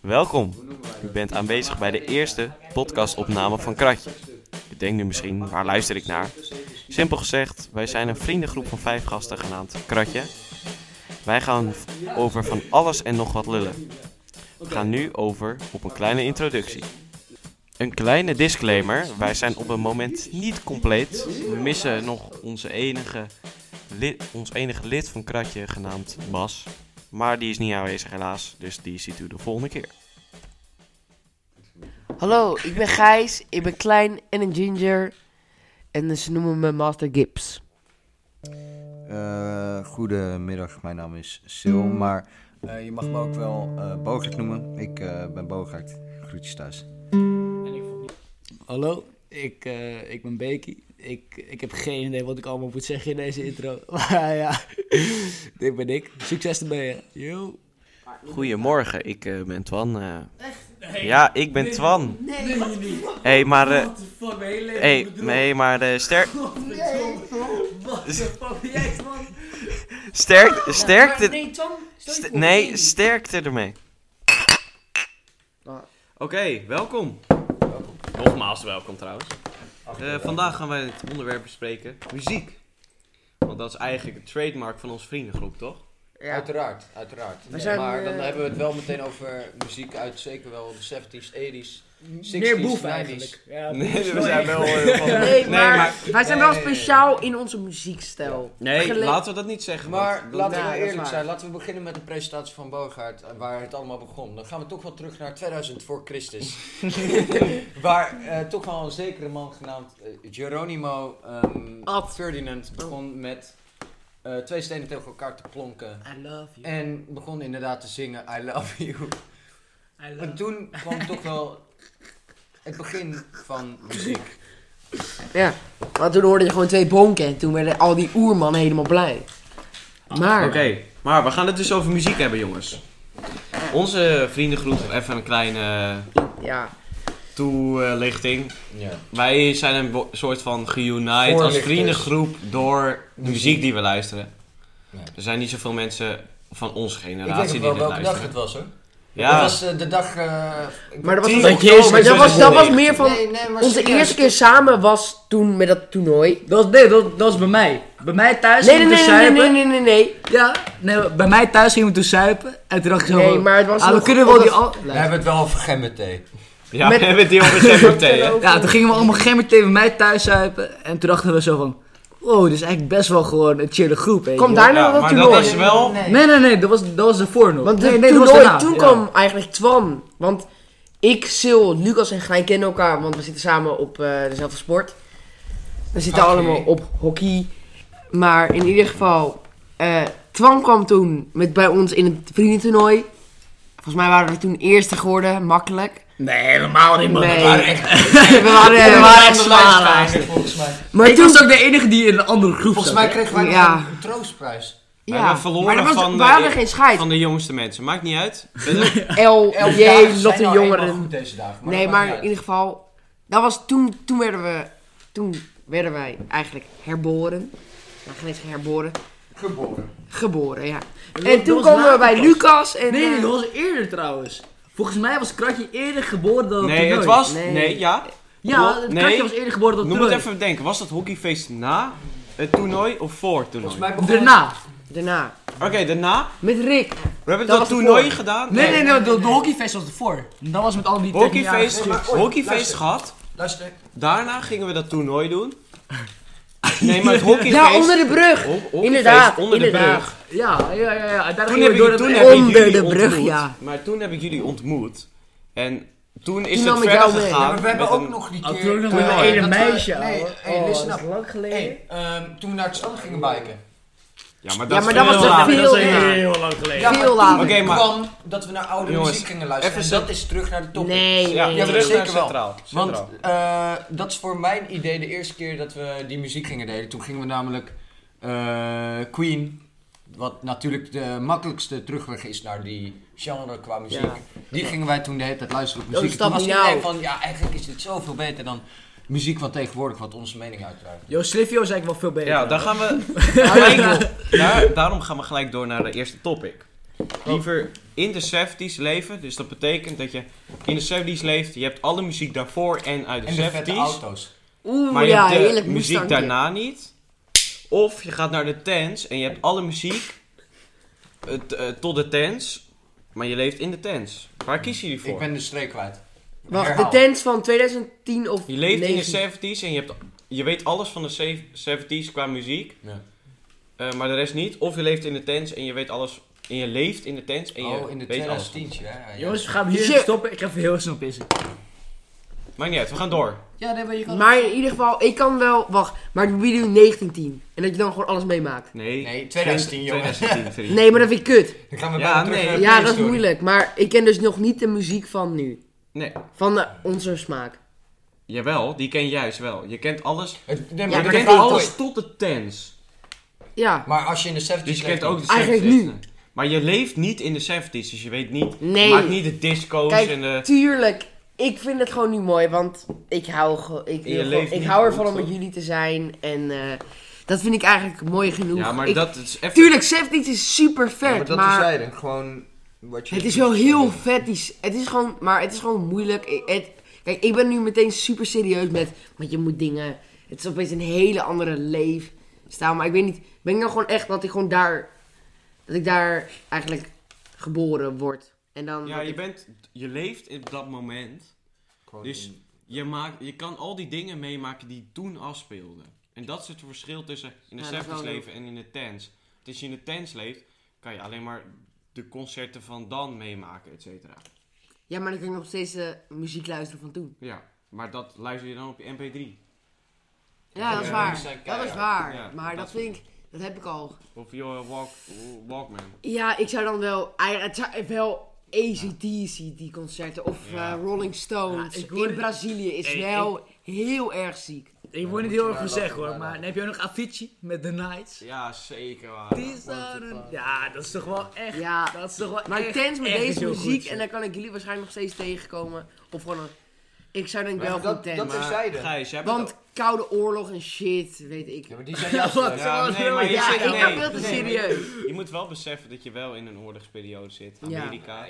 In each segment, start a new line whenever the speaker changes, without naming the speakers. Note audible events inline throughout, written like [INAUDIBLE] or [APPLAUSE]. Welkom. U bent aanwezig bij de eerste podcastopname van Kratje. U denkt nu misschien, waar luister ik naar? Simpel gezegd, wij zijn een vriendengroep van vijf gasten genaamd Kratje. Wij gaan over van alles en nog wat lullen. We gaan nu over op een kleine introductie. Een kleine disclaimer, wij zijn op het moment niet compleet. We missen nog onze enige lid, ons enige lid van Kratje genaamd Bas. Maar die is niet aanwezig helaas, dus die ziet u de volgende keer.
Hallo, ik ben Gijs, ik ben klein en een ginger. En dus ze noemen me Master Gibbs.
Eh, goedemiddag, mijn naam is Sil,
Mm.
maar eh, je mag me ook wel eh Bogart noemen. Ik eh, ben Bogart. Groetjes thuis.
Hallo, ik, eh, ik ben Beky. Ik, ik heb geen idee wat ik allemaal moet zeggen in deze intro. [LAUGHS] Maar ja, dit ben ik. Succes ermee, hè. Yo.
Goedemorgen, ik eh, ben Twan. eh. ja, ik ben Twan. Nee, hey, maar... eh,
Fuck, mijn hele
hey, nee, maar eh, ster
jij, man.
sterk, sterkte...
Nee, Tom.
st- nee, sterkte ermee. Oké, Ah. welkom. Nogmaals welkom trouwens. Eh, vandaag gaan wij het onderwerp bespreken, muziek. Want dat is eigenlijk het trademark van onze vriendengroep, toch?
Uiteraard, uiteraard.
We zijn,
maar dan
eh,
hebben we het wel meteen over muziek uit zeker wel de 70s, 80s. 60s,
Meer boef
90s.
eigenlijk. Ja,
Nee, we zijn wel... eh, van-
[LAUGHS] Nee, maar, wij zijn wel
nee, nee,
speciaal in onze muziekstijl.
Nee,
Gele-
laten we dat niet zeggen.
Maar
want dat-
laten
Ja,
we
dat is
eerlijk
waar.
zijn, laten we beginnen met de presentatie van Bogaert, eh, waar het allemaal begon. Dan gaan we toch wel terug naar 2000 voor
[LAUGHS]
Christus. waar eh, toch wel een zekere man genaamd eh, Geronimo ehm,
Ad.
Ferdinand begon met eh, twee stenen tegen elkaar te plonken.
I love you.
En begon inderdaad te zingen I love you.
I love
En toen kwam toch wel het begin van muziek.
Ja, want toen hoorde je gewoon twee bonken en toen werden al die oermannen helemaal blij. Maar,
Oké, maar we gaan het dus over muziek hebben, jongens. Onze vriendengroep, even een kleine
ja,
toelichting.
Ja.
Wij zijn een wo- soort van geunite als
Voorlichters.
vriendengroep door de muziek die we luisteren.
Ja.
Er zijn niet zoveel mensen van onze
Ik weet
generatie
nog
die
wel
dit
welke dag het
luisteren.
was hoor.
Ja,
Dat was eh, de dag... eh, ik
maar dat was,
Tien
dat,
oktober
maar dat, was, dat was meer van...
Nee, nee, maar
Onze
serieus.
eerste keer samen was toen met dat toernooi.
Dat, nee, dat, dat is bij mij. Bij mij thuis
Nee, nee,
gingen we
nee,
toen
nee,
zuipen.
nee, nee, nee, nee.
Ja, nee, bij mij thuis gingen we toen zuipen. En toen dacht ik zo
Nee,
van,
maar het was
ah, we
nog-
kunnen wel
op
die...
dat-
al-
We hebben het wel over gemmeteen.
ja
met-
we hebben het hier over Semmerthee,
[LAUGHS]
hè?
Ja, toen gingen we allemaal gemmerthee bij mij thuis zuipen. En toen dachten we zo van... Wow, dit is eigenlijk best wel gewoon een chille groep. weet je
Komt
wel.
daar
Ja,
nog dat
maar dat
toernooi?
was wel...
Nee, nee, nee, dat was, dat was ervoor nog.
Want
nee,
de
nee, dat was
toernooi,
daarna,
toen
ja.
kwam eigenlijk Twan. Want ik, Sil, Lucas en Grijn kennen elkaar, want we zitten samen op eh, dezelfde sport. We zitten
Oké.
allemaal op hockey. Maar in ieder geval, eh, Twan kwam toen met, bij ons in het vriendentoernooi. Volgens mij waren we toen eerste geworden, makkelijk.
Nee, helemaal niet, man.
Nee. [LAUGHS]
Nee.
we waren,
We
maar,
waren echt zwaar eigenlijk.
Volgens mij.
Ik
toen...
was ook de enige die in een andere groep
Volgens
zat.
mij kregen wij
Ja.
nog een troostprijs.
We hebben verloren
maar dat was,
van de-
we hadden geen scheid.
Van de jongste mensen, maakt niet
[LAUGHS]
uit.
L,
Elf
J,
dagen zijn
Lotte
nou
Jongeren.
eenmaal goed deze dagen. Maar
nee,
dat
maar
maakt
in
niet
ieder geval, dat was toen, toen werden we, toen werden wij eigenlijk herboren. Nou, geen eens herboren,
uit. Geboren.
geboren, ja.
Dat was-
En
dat
toen
was
komen we
later
bij
pas.
Lucas en...
Nee, nee,
eh,
dat was eerder trouwens. Volgens mij was Kratje eerder geboren dan
Nee, het
toernooi.
was...
Nee.
Nee, ja.
Ja, het
Nee.
Kratje was eerder geboren dan
Noem
toernooi.
het even bedenken, was dat hockeyfeest na het toernooi of voor het toernooi?
Volgens mij begon
Daarna.
daarna,
Oké, daarna.
met Rick.
We hebben
Dat
dat,
was
toernooi
ervoor.
gedaan.
Nee, nee, nee, de, de hockeyfeest was ervoor. Dat was met al die
Hockeyfeest,
Nee, maar ooit,
hockeyfeest
luister.
gehad.
Luister.
Daarna gingen we dat toernooi doen. Nee, maar het hockeyfeest...
[LAUGHS] Ja, onder de brug.
ho- hockeyfest
Inderdaad,
onder
inderdaad.
de brug.
Ja, ja, ja, ja. Daar
Toen
gingen
heb
we
ik, toen
door Oh, de...
heb ik
onder
jullie
de brug,
ontmoet.
ja.
Maar toen heb ik jullie ontmoet. En toen is
Toen nam
het
ik
verder
jou mee.
gegaan.
Ja,
Maar we hebben
met
ook
een-
nog die
Oh,
keer...
toen nog
eh,
met
dat
ene
we-
meisje,
Nee,
ouwe.
hey,
Oh,
listen
dat is
up.
lang geleden.
Hey, ehm, toen we naar het strand gingen biken.
Ja, maar
Ja,
dat,
maar
is
dat was
veel
toch
later.
veel later.
heel lang geleden.
Ja, maar
Veel
toen
later.
Oké, maar-
kwam dat we naar oude
Jongens,
muziek gingen luisteren.
even
En dat is terug naar de topic.
Nee,
Ja,
nee,
Ja,
nee.
terug naar
zeker wel.
centraal.
Want
Centraal.
eh, dat is voor mijn idee de eerste keer dat we die muziek gingen delen. Toen gingen we namelijk eh, Queen, wat natuurlijk de makkelijkste terugweg is naar die genre qua muziek.
Ja.
Die gingen wij toen de hele tijd luisteren op
Dat
muziek.
is
Toen
dat
was
nou.
iedereen van, ja eigenlijk is dit zoveel beter dan muziek van tegenwoordig, wat onze mening uitdraagt.
Yo, Slivio is eigenlijk wel veel beter.
[LAUGHS]
Ja, daar gaan we... gelijk- daar, daarom gaan we gelijk door naar de eerste topic.
Oh.
liever in de 70s leven. Dus dat betekent dat je in de 70s leeft. Je hebt alle muziek daarvoor en uit de,
En de vette
70s.
auto's.
Oeh,
Maar je
ja,
hebt de
heerlijk
muziek
Mustangje.
daarna niet. Of je gaat naar de tents en je hebt alle muziek eh, t- eh, tot de tents. Maar je leeft in de tents. Waar kiezen jullie voor?
Ik ben de streek kwijt.
Wacht, de
Herhaal.
tents van 2010 of
Je leeft in
19.
de 70s en je, hebt, je weet alles van de zev- 70s qua muziek.
Ja.
eh, maar de rest niet. Of je leeft in de tents en je weet alles. En je leeft in de tents en je
Oh, in de
weet alles.
2010 ja. ja.
Jongens, we gaan hier
Shit.
stoppen. Ik ga even heel snel pissen.
Maakt niet uit, we gaan door.
Ja, nee, maar je kan...
Maar in ieder geval, ik kan wel... Wacht, maar wie doen 1910? En dat je dan gewoon alles meemaakt.
Nee,
Nee, 2010, jongen.
[LAUGHS] 2010, vriend.
Nee, maar dat vind ik kut.
Ik ga me
Ja,
bijna terug
nee.
naar de
Ja, dat is
prehistorie.
moeilijk. Maar ik ken dus nog niet de muziek van nu.
Nee,
Van eh, onze smaak.
jawel, die ken je juist wel. Je kent alles.
Het-
Ja,
nee,
je
maar de
maar
kent
vraag-
alles tot de tents.
Ja.
Maar als je in de 70s
Dus je
leeft,
kent ook de 70s.
Eigenlijk nu.
Maar je leeft niet in de 70s, dus je weet niet.
Nee.
Je maakt niet de disco's
Kijk,
en de.
Tuurlijk, ik vind het gewoon nu mooi, want ik hou, ge- ik
je
wil gewoon-
leeft
ik
niet
hou
goed,
ervan om met
toch?
jullie te zijn. En eh, dat vind ik eigenlijk mooi genoeg.
Ja, maar
Ik-
dat is even.
Tuurlijk, Seftit is super vet,
Ja,
maar,
dat terzijde, gewoon wat je...
het is wel heel vet. die s- Het is gewoon, maar het is gewoon moeilijk. Ik- het- kijk, ik ben nu meteen super serieus met, want je moet dingen... Het is opeens een hele andere leef staan, maar ik weet niet... Ben ik nou gewoon echt dat ik gewoon daar... Dat ik daar eigenlijk geboren word. En dan...
Ja,
dat
je,
ik-
bent, je leeft in dat moment. Dus je, maakt, je kan al die dingen meemaken die toen afspeelden. En dat is het verschil tussen in de
Ja, dat is
70s
wel
leven en in de tents. Want als je in de tents leeft, kan je alleen maar de concerten van dan meemaken, et cetera.
Ja, maar dan kun je nog steeds de muziek luisteren van toen.
Ja, maar dat luister je dan op je mp3.
Ja, dat is waar.
zijn
Dat is
keihard.
waar.
Ja,
maar dat,
dat is
vind ik, dat heb ik al.
Of je eh, walk, Walkman.
Ja, ik zou dan wel, ei- het zou wel ACDC, die concerten, of
Ja.
eh, Rolling Stones.
Ja, ik hoor-
In Brazilië is
Hey,
wel heel erg ziek.
Ik word niet heel erg gezegd hoor, maar dan heb je ook nog Avicii met The Nights.
Ja, zeker waar.
Die is daar een- Ja, dat is toch wel echt.
Ja.
Dat is toch wel
Maar
echt,
tens met
echt
deze
heel goed,
muziek,
zeg.
en dan kan ik jullie waarschijnlijk nog steeds tegenkomen. Of gewoon een, ik zou denk ik wel
dat-
goed tens.
dat is- terzijde.
Gijs, jij bent
Want Koude Oorlog en shit, weet ik.
Ja,
Ja,
maar [LAUGHS] die zijn juist
Wat?
leuk.
Ja, nee, maar je
Ja,
zit-
ik
nee,
ben veel te
nee, maar je-
serieus.
Je moet wel beseffen dat je wel in een oorlogsperiode zit.
Ja.
Amerika.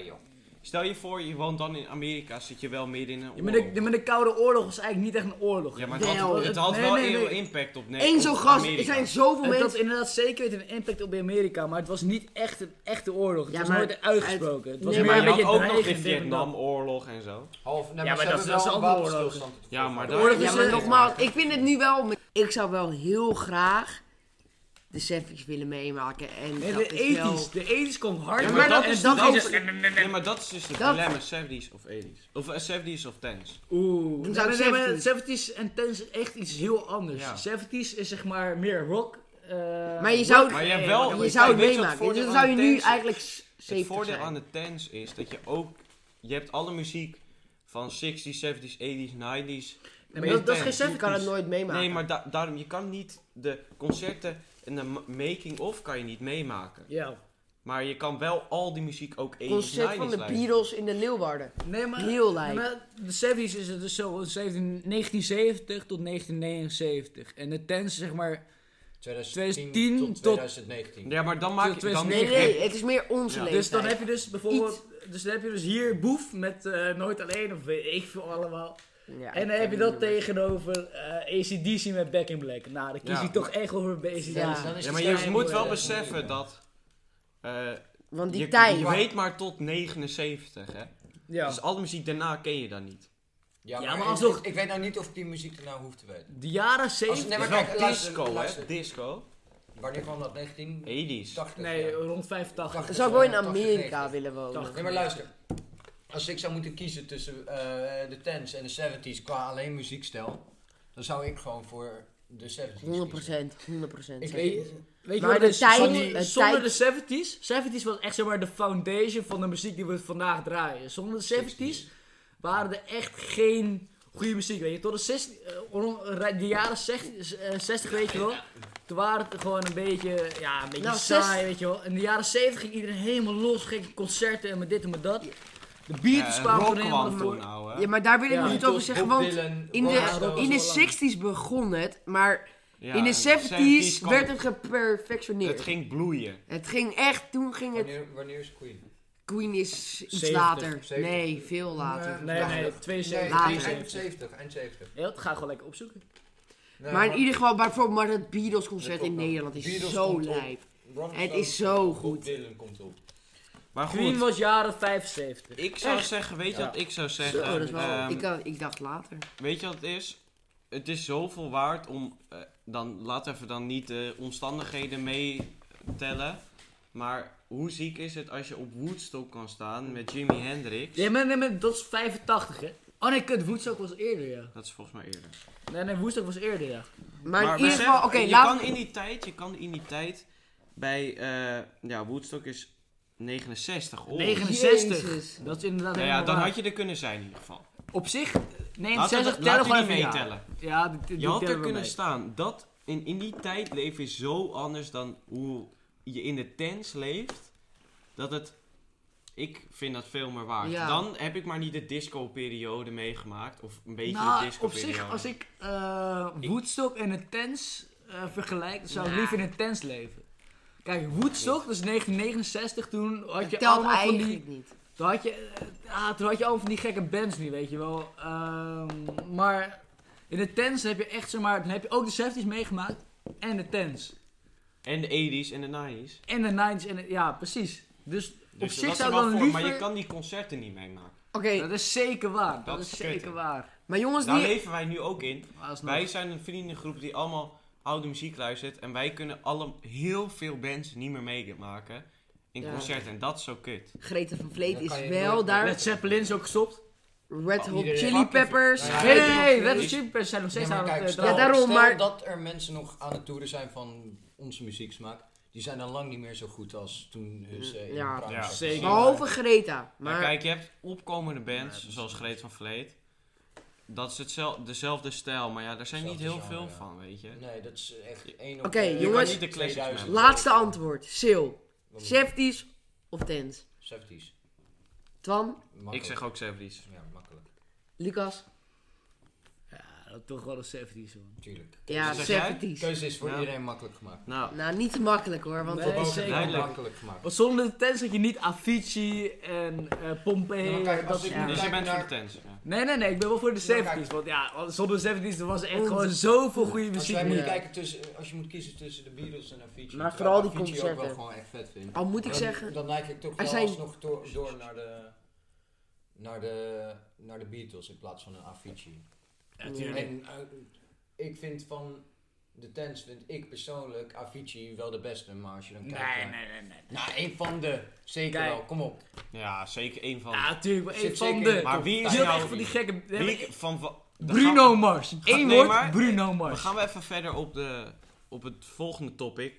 Stel je voor, je woont dan in Amerika, zit je wel midden in een
Ja,
oorlog.
maar, de, de- maar de Koude Oorlog was eigenlijk niet echt een oorlog.
Ja, maar
Nee,
het had,
joh.
het had
Nee,
wel
nee,
heel
nee.
impact op Nederland.
Eén zo'n gast, er zijn zoveel
Het had
mensen.
inderdaad zeker weten een impact op Amerika, maar het was niet echt een echte oorlog. Het
Ja,
was
maar
nooit uitgesproken. Het was
Nee,
meer
maar
maar
je
een
had
beetje
ook nog de
dreigend dit en dat.
Vietnamoorlog en zo.
Half, nee,
Ja,
maar ze
maar dat is-
hebben
dat is
wel een
een andere oorlog.
wapenstilstand.
Ja, maar
oorlog
daar...
is
Ja, maar nogmaals, ik vind het nu wel... Ik zou wel heel graag de Seffies willen meemaken. En
Nee,
dat
de
is wel-
ethisch. De ethisch komt hard.
Ja,
Ja,
maar
maar
dat
dat
is
is-
dat
dat is-
ook-
Nee, maar dat is dus het
Dat-
dilemma, 70s of 80s. Of eh, 70s of 10s.
Oeh.
Dan
Dan
zou ik
zijn nee, maar
70s.
70s en 10s is echt iets heel anders.
Ja.
70s is zeg maar meer rock. eh,
Maar je zou-
Maar je hebt
eh,
wel-
wat dan
Je
ook.
zou het
Weet je wat
meemaken.
het
Dus
voordeel
dan zou
aan
je
de
nu
tens is?
eigenlijk s-
Het
70
voordeel
zijn.
aan de 10s is dat je ook... Je hebt alle muziek van 60s, 70s, 80s, 90s.
Nee,
Maar
maar dat, dat is geen
Je kan het
70s.
nooit meemaken.
Nee, maar da- daarom, je kan niet de concerten en de ma- making-of kan je niet meemaken.
Ja.
Maar je kan wel al die muziek ook 80s, 90s
Concert van de
luisteren.
Beatles in de Leeuwarden.
Nee, maar,
Heel lijp.
maar de 70s is het dus zo 17 1970 tot 1979. En de 10s is zeg maar...
2010 tot
tot-
2019.
Ja, maar dan maak je... Dan,
Nee,
Nee, nee, het is meer onze leeftijd.
Dus dan heb je dus bijvoorbeeld... Dus dan heb je dus hier Boef met eh, Nooit Alleen of weet ik veel allemaal.
Ja,
en dan
ik
heb je
ken
dat
die nummers.
tegenover eh ACDC met Back in Black. Nou, dan kies
Ja.
ik toch echt over bij ACDC.
Ja.
Dan is
ja,
het
maar
steeds
je moet wel
moeilijker.
beseffen dat... eh,
Want die
je,
tijd...
je weet maar tot 79, hè.
Ja.
Dus alle muziek daarna ken je dan niet.
Ja,
Ja,
maar,
maar
ik-
alsnog-
ik, ik weet nou niet of ik die muziek er nou hoeft te weten.
De jaren
Als,
70...
Oh, nee, maar
Het is wel
kijk, luister,
disco,
luister.
hè? Disco.
Wanneer kwam dat? 1980?
80s.
Nee,
ja.
rond 85.
Dan zou ik wel in
80,
Amerika
90.
willen wonen.
Toch.
Nee, maar luister. Als ik zou moeten kiezen tussen eh, de 10s en de 70s qua alleen muziekstijl, dan zou ik gewoon voor de
100
70s kiezen.
procent, 100 procent.
Ik
Weet
weet-
weet je
Maar
wat
de
het is?
tijd-
Zonder,
de
zonder
tijd-
de 70s. 70s was echt zeg maar de foundation van de muziek die we vandaag draaien. Zonder de 70s waren er echt geen goede muziek. Weet je, tot de, 60, eh, rond- eh, de jaren 60, eh, 60, weet je wel. Toen waren het gewoon een beetje, ja, een beetje
Nou,
saai,
60
weet je wel. In de jaren 70 ging iedereen helemaal los. Ging concerten en met dit en met dat. De Beatles
Eh,
kwamen
rock
toen helemaal
kwam
voor.
toen, ouwe.
Ja, maar daar wil ik
Ja.
nog niet over zeggen, want... In
Ja, dat
de,
was
in
wel
de
lang.
60s begon het, maar
Ja,
in de 70s
kwam
werd
het,
het geperfectioneerd.
het ging bloeien.
het ging echt, toen ging het...
Wanneer, wanneer is Queen?
Queen is iets
70,
later.
70.
Nee, veel later.
Nee, nee,
Nee,
72.
later.
eind 70. Eind 70.
Ja, dat ga ik gewoon lekker opzoeken.
Nee,
Maar in ieder geval, bijvoorbeeld maar dat Beatles concert in
Dat komt nog.
Nederland is
Beatles
zo
komt op.
lijp.
Rolling
het
Stones
is zo
komt op,
goed.
Bob Dylan komt op.
Maar
Queen
goed,
was jaren 75.
ik zou
Echt?
zeggen, weet je
Ja.
wat ik zou zeggen?
Zo, Oh, dat is wel...
Ehm,
ik, eh, ik dacht later.
Weet je wat het is? Het is zoveel waard om, eh, dan, laat even dan niet de omstandigheden meetellen, maar hoe ziek is het als je op Woodstock kan staan met Jimi Hendrix?
Ja, maar, nee, maar dat is 85, hè? Oh nee, kut, Woodstock was eerder, ja.
Dat is volgens mij eerder.
Nee, nee, Woodstock was eerder, ja.
Maar, in
besef,
ieder geval, oké,
je
laat...
kan in die tijd, je kan in die tijd bij, eh, ja, Woodstock is 69. Oh.
69.
Jezus.
Dat is inderdaad
Nou ja,
helemaal
dan
waar.
had je er kunnen zijn in ieder geval.
Op zich,
Laten
69
we
tellen
laten we
gewoon
die
even ja.
meetellen.
Ja, die, die
Je had
tellen
er
we
kunnen
mee.
staan. Dat in, in die tijd leven is zo anders dan hoe je in de tents leeft. Dat het. Ik vind dat veel meer waard.
Ja.
Dan heb ik maar niet de disco-periode meegemaakt. Of een beetje de
Nou, op
disco-periode.
zich, als ik eh, Woodstock en een tens eh, vergelijk, dan zou ik
Nah.
liever in een tens leven. Kijk, Woodstock, dat is 1969, toen had je
Dat telt
allemaal van die...
eigenlijk niet.
Toen had je, eh, ah, toen had je allemaal van die gekke bands nu, weet je wel. Ehm, maar in de tens heb je echt, zeg maar, dan heb je ook de 70s meegemaakt en de tens.
En de 80s en de 90s.
En de 90s en de- ja, precies. Dus, op
Dus
zich
dat
zou
zou
ik
wel
dan
voor,
liever...
maar je kan die concerten niet meemaken.
Oké,
Dat is zeker waar, dat,
Dat
is
is kut,
zeker
hè.
waar.
maar jongens,
Daar
die...
leven wij nu ook in.
Maar nou- alsnog.
Wij zijn een vriendengroep die allemaal oude muziek luistert. En wij kunnen alle, heel veel bands niet meer meemaken in
Ja.
concerten. En dat is zo kut.
Greta van Vleet
Dat
is
kan je
wel
nooit-
daar.
Led Zeppelin is ook gestopt.
Red Hot
Iedereen-
Chili
Fucking-
Peppers.
Nou ja,
Nee,
Red
nee,
Hot
nee,
Chili-
Red Hot Chili Peppers zijn nog
Nee,
steeds
maar
aan
kijk,
het... eh,
stel,
Ja, daarom,
stel
maar-
dat er mensen nog aan het toeren zijn van onze muzieksmaak. Die zijn dan lang niet meer zo goed als toen eh, ze in
Ja,
de prime
ja,
zaten.
zeker.
Behalve Greta.
Maar,
Maar
kijk, je hebt opkomende bands, zoals Greet van Vleet. Dat is hetzelfde, dezelfde stijl, maar ja, daar zijn niet heel
Hetzelfde
veel
genre, ja.
van, weet je.
Nee, dat is echt één op...
Oké,
eh,
jongens.
Je kan niet de classics
2000.
laatste antwoord. Sil.
Want-
Safeties of tens?
70's.
Twan,
Ik
Makkelijk.
zeg ook Severies.
Ja, makkelijk.
Lucas.
Ja, dat toch wel de 70s, man.
Tuurlijk.
Ja,
Wat zeg jij?
De
safeties.
keuze is voor
Ja.
iedereen makkelijk gemaakt.
Nou,
Nou, niet te makkelijk hoor, want
Nee,
dat is...
zeker.
Heel
Duidelijk.
makkelijk gemaakt.
Want zonder de tens had je niet Avicii en eh Pompeii.
Ja, maar kijk,
dat
als ik
soort-
nu
dus je
kijk
bent voor de
naar-
tens. ja.
Nee, nee, nee, ik ben wel voor de
Ja, maar
70s. Want ja, want zonder de 70s er was echt
Oh,
Ont-
gewoon zoveel goede
Als
muziek
jij moet
meer.
kijken tussen, als je moet kiezen tussen de Beatles en Avicii.
Maar
terwijl
vooral die
Avicii ook wel
concerten.
gewoon echt vet vind.
Al Ah, moet ik
dan,
zeggen...
Dan neig ik toch
er
wel
zijn-
alsnog door, door naar de... Naar de, naar de Beatles in plaats van een Avicii.
Ja, tuurlijk.
En eh, ik vind van de tens vind ik persoonlijk Avicii wel de beste, maar als je dan kijkt...
Nee,
naar-
nee, nee, nee.
Nou, één van de. Zeker
Kijk.
wel, kom op.
Ja, zeker één van.
Ja, natuurlijk, maar één
Zit
van
zeker in
de...
de
maar wie
Je
is
top
had
vijf.
nou...
echt van die gekke...
wie van... van- dan
Bruno
gaan-
Mars. Eén
Nee,
woord,
maar-
Bruno
Dan
Mars.
gaan we even verder op, de, op het volgende topic.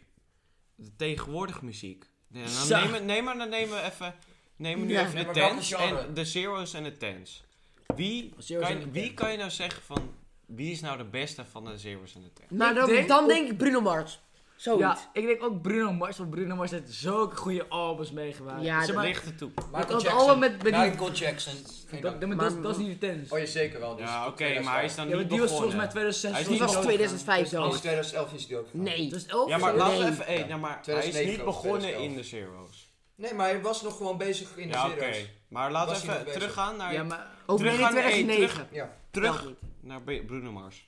De tegenwoordig muziek. Ja, dan
Zo.
nemen, neem maar, dan nemen we even... Nemen we nu
Ja.
even
Ja,
de
maar welke
tens
genre?
en de zeros en de tens. Wie,
Zeros
kan,
en
je-
de
wie
tens.
kan je nou zeggen van... Wie is nou de beste van de zeros en de tens?
Maar
Ik
dan,
denk
dan
op-
denk ik Bruno Mars. Zoiets.
Ja, ik denk ook Bruno Mars, want Bruno Mars heeft zulke goede albums meegemaakt.
Ja,
Zeg
dat
maar,
Ligt er toe.
kan
Michael
het
Jackson.
allemaal met- met die-
Michael Jackson. Geen
dat, dat,
dank.
maar dat, is- dat is niet de tens.
Oh ja, zeker wel.
Ja, oké, maar hij is dan
Ja, maar
niet
die was volgens
begonnen.
mij 2006.
Hij is
Die
niet
was
doodgegaan.
2005
In
dood.
2011 is hij ook gegaan.
Nee.
Dus 11
Ja, maar
zo.
laten we
Nee.
even... Hey, nou, maar hij is
2009
niet
of
begonnen
2011.
in de zeros.
Nee, maar hij was nog gewoon bezig in de
Ja, oké.
zeros.
Maar laten
Was
we
hij nog
even
bezig?
teruggaan naar...
Ja, maar
Ook
Terug
weer in
aan- hey,
2009.
Ja.
terug
Telt niet.
naar Be- Bruno Mars.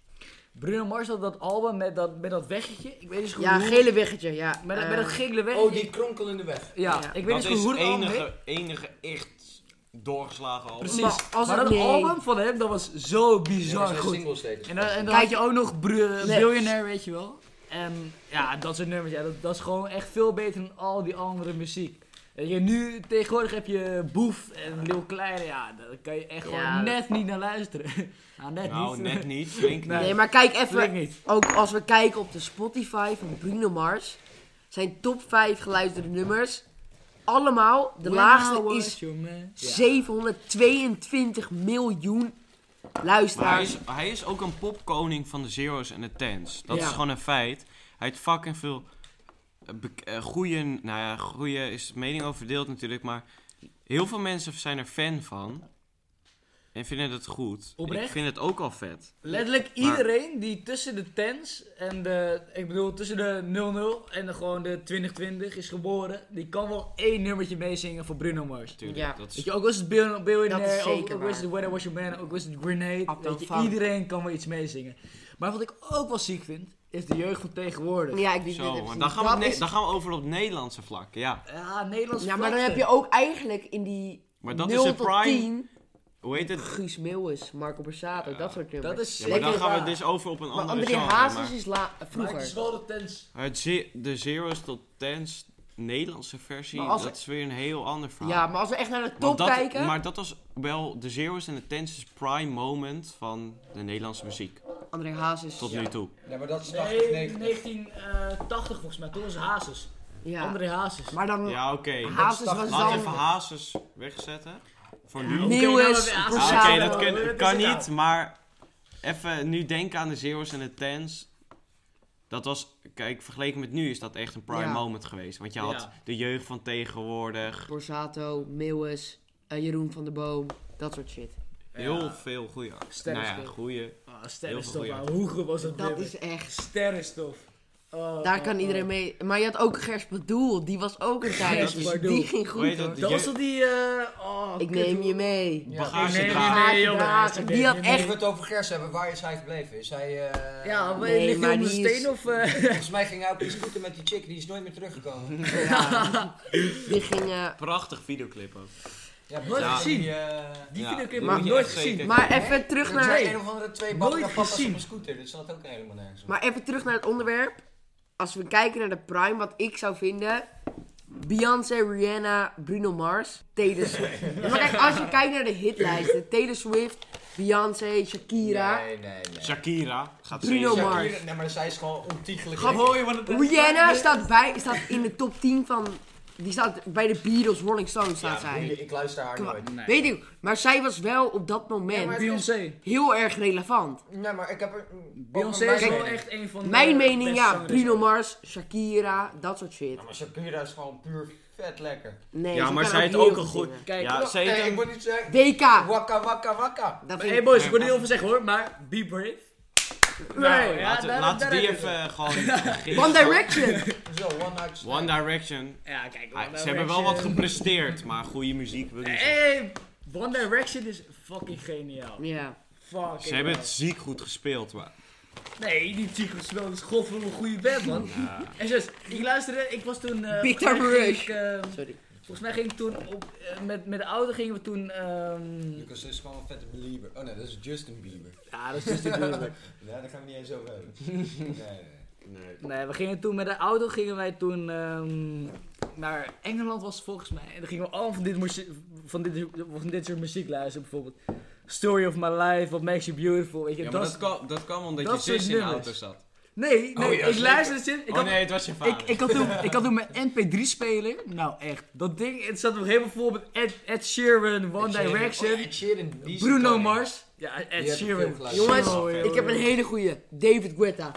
Bruno Mars had dat album met dat, met dat weggetje. Ik weet niet goed
Ja,
hoe.
gele weggetje, ja.
Met, dat-
Eh,
met dat gele weggetje.
Oh, die kronkel in de weg.
Ja,
Ja.
ik weet
Dat
niet
is
goed hoe
het
dat album heet.
enige, enige echt doorgeslagen album.
Precies.
Maar
Maar,
als het-
dat
nee.
album van hem, dat was zo bizar
zijn
goed.
singles deed het.
En dan, en dan
Kijk, Ehm,
had je ook nog br-
Nee.
Billionaire, weet je wel. En ja, dat soort nummers, ja, dat, dat is gewoon echt veel beter dan al die andere muziek. En je, nu, tegenwoordig heb je Boef en Lil Kleine, ja, daar kan je echt
Ja,
gewoon
dat-
net niet naar luisteren. [LAUGHS] nou, net
Nou,
[LAUGHS] niet.
net niet. Flink
Nee.
Nee, maar kijk
Flink
even.
niet.
Ook als we kijken op de Spotify van Bruno Mars. Zijn top 5 geluisterde nummers. Allemaal.
[LAUGHS]
De laagste is 722 miljoen
Maar hij
luisteraars.
is, hij is ook een popkoning van de zeros en de tens. Dat
Ja.
is gewoon een feit. Hij heeft fucking veel eh, bek- eh, goeie... Nou ja, goeie is mening over verdeeld natuurlijk, maar... Heel veel mensen zijn er fan van. En en vinden het goed.
Oprecht?
Ik vind het ook al vet.
Letterlijk
Maar-
iedereen die tussen de tens en de, ik bedoel tussen de 00 en de, gewoon de 2020 is geboren, die kan wel één nummertje meezingen voor Bruno Mars.
Tuurlijk,
Ja.
dat is
Weet je, ook was het Bill-
Dat is
Billionaire, ook,
zeker
ook was
waar.
het When I Was Your Man, ook was het Grenade.
Appel
Weet je,
van.
iedereen kan wel iets meezingen. Maar wat ik ook wel ziek vind, is de jeugd van tegenwoordig.
Ja, ik weet dit
Zo,
even
maar
niet.
dan gaan, we
Dat
op ne-
is-
dan gaan we over op het Nederlandse vlak, ja.
Ja, Nederlands
Ja, maar dan
vlaggen.
heb je ook eigenlijk in die
Maar dat
0
is een
tot
prime-
10,
Hoe heet het?
Guus Meeuwis, Marco Borsato, dat soort nummers.
dat is
Ja, maar dan
zeker
gaan we
waar.
dus over op een
maar
andere
André
genre,
Hazes
maar-
is la-
Maar het
vroeger.
is wel de tens.
Het ze- de zeros tot tens Nederlandse versie,
Maar als-
dat is weer een heel ander verhaal.
Ja, maar als we echt naar de
Want
top
dat,
kijken...
Maar dat was wel de zeros en de tens is prime moment van de Nederlandse muziek.
André Hazes.
Tot nu toe.
Ja, maar dat is 80,
Nee,
90.
1980 volgens mij, toen was het Hazes.
Ja.
André Hazes.
Maar dan...
Ja, oké.
Hazes was
Laat
dan...
even Hazes wegzetten. Voor nu.
Nee,
Meeuwis,
Oké, nou, we-
Ah, Oké,
Borsato.
dat kun-
Dit is
kan
het nou.
niet, maar even nu denken aan de zeros en de tens. Dat was, kijk, vergeleken met nu is dat echt een prime
Ja.
moment geweest. Want je had
Ja.
de jeugd van tegenwoordig.
Borsato, Meeuwis, eh, Jeroen van der Boom, dat soort shit.
Heel veel goede acties. Nou ja,
Sterrenspel.
goeie.
Ah,
Heel
sterrenstof,
veel
ouwe. hoe goed was dat
Dat
nummer?
is echt...
Sterrenstof. Oh,
Daar
oh,
kan
oh.
iedereen mee... Maar je had ook Gers Bedoel, die was ook een tijd. Dus
Bedoel.
die ging
Hoe heet
goed
dat?
hoor.
Dat was toch die... eh oh,
Ik
kut,
neem
hoe-
je mee.
Ja.
Bagage
Ik neem je
dragen.
mee,
Bagage
jongen.
dragen.
Ik neem
Die had
je mee.
Als
echt-
we het over Gers hebben, waar is hij gebleven? Is hij, eh,
Ja, maar
Nee,
ligt hij
maar
onder
die
een
is-
steen of... eh, [LAUGHS]
Volgens mij ging hij op die scooter met die chick, die is nooit meer teruggekomen.
[LAUGHS] Die ging... eh,
Prachtig videoclip ook.
Ja,
Nooit
ja.
gezien.
Die, eh,
Die
Ja,
videoclip
dat
heb
moet
ik
je
nooit
echt
gezien.
zeker-
Maar even terug
er
naar...
zijn een of andere twee bakken
Nooit
papa's
gezien.
op een scooter, dus dat ook helemaal nergens op.
Maar even terug naar het onderwerp. Als we kijken naar de prime, wat ik zou vinden... Beyoncé, Rihanna, Bruno Mars, Taylor Swift.
[LAUGHS]
Ja, maar kijk, als je kijkt naar de hitlijsten... Taylor Swift, Beyoncé, Shakira...
Nee, nee, nee.
Shakira gaat
Bruno
zeker.
Mars.
Shakira- nee, maar zij is gewoon ontiegelijk.
Grap-
lekker.
Rihanna nou staat, bij, staat in de top 10 van... Die staat bij de Beatles, Rolling Stones staat
Ja,
zij.
ik, ik luister haar
Kwa-
nooit.
Weet ik, maar zij was wel op dat moment
maar-
Beyoncé.
heel erg relevant.
Nee, maar ik heb er...
Beyoncé
over
is
mijn
wel
mening.
echt een van de
Mijn mening,
beste
ja,
zangeressen.
Bruno Mars, Shakira, dat soort shit.
Ja, maar Shakira is gewoon puur vet lekker.
Nee,
Ja,
ze
maar
kan
zij heeft
heel
ook een goed...
zingen.
Kijk,
Ja,
oh,
ze heeft
Nee, ik
een-
moet niet zeggen...
WK!
Wakka, wakka, wakka.
Dat vind
Hey
ik-
boys, ik wil er heel veel zeggen hoor, maar be brave.
Nou,
Oh, ja,
Laten
daar-
laten
daar
die
heb je
even eh, gewoon...
One Direction!
Zo, one night stand.
One Direction.
Ja, kijk.
Ah,
One
ze hebben wel wat
Direction.
gepresteerd, maar goede muziek wil ik niet zeggen.
Hey, One Direction is fucking geniaal.
ja.
Fucking
Ze hebben
hell.
het ziek goed gespeeld, maar...
Nee, die Tigers speelde is god van een goede band, man. En zus, ik luisterde, ik was toen... eh,
Big
volgens mij
Time
ging
Rush.
ik, eh,
Sorry.
Volgens mij ging ik toen op, eh, met, met de auto gingen we toen... ehm
Lucas is gewoon een vette belieber. Oh nee, dat is Justin Bieber.
ja, dat is dus natuurlijk.
Nee, daar gaan we niet eens over hebben. [LAUGHS] Nee, nee, nee.
Nee, we gingen toen met de auto gingen wij toen ehm, naar Engeland was het volgens mij. En dan gingen we allemaal van dit, muzie- van dit, van dit soort muziek luisteren bijvoorbeeld. Story of my life, What Makes You Beautiful. Weet je,
Ja, maar
dat
dat,
is-
kwam, dat kwam omdat
dat
je
soort
zus in de
nummers.
auto zat.
Nee, nee,
Oh ja,
ik
zeker.
luisterde zin. Ik
oh
had
nee, het was je
Ik,
vader.
ik, had toen, ik had toen mijn MP3-speler. Nou echt, dat ding, het zat nog helemaal vol met Ed, Ed Sheeran, One
Ed Sheeran.
Direction,
Oh, Ed Sheeran, die is de
Bruno
koning.
Mars. Ja, Ed
heb ik veel
Sheeran.
geluisterd.
Jongens,
Zo, joh,
Ik heb een
joh.
hele goede. David Guetta.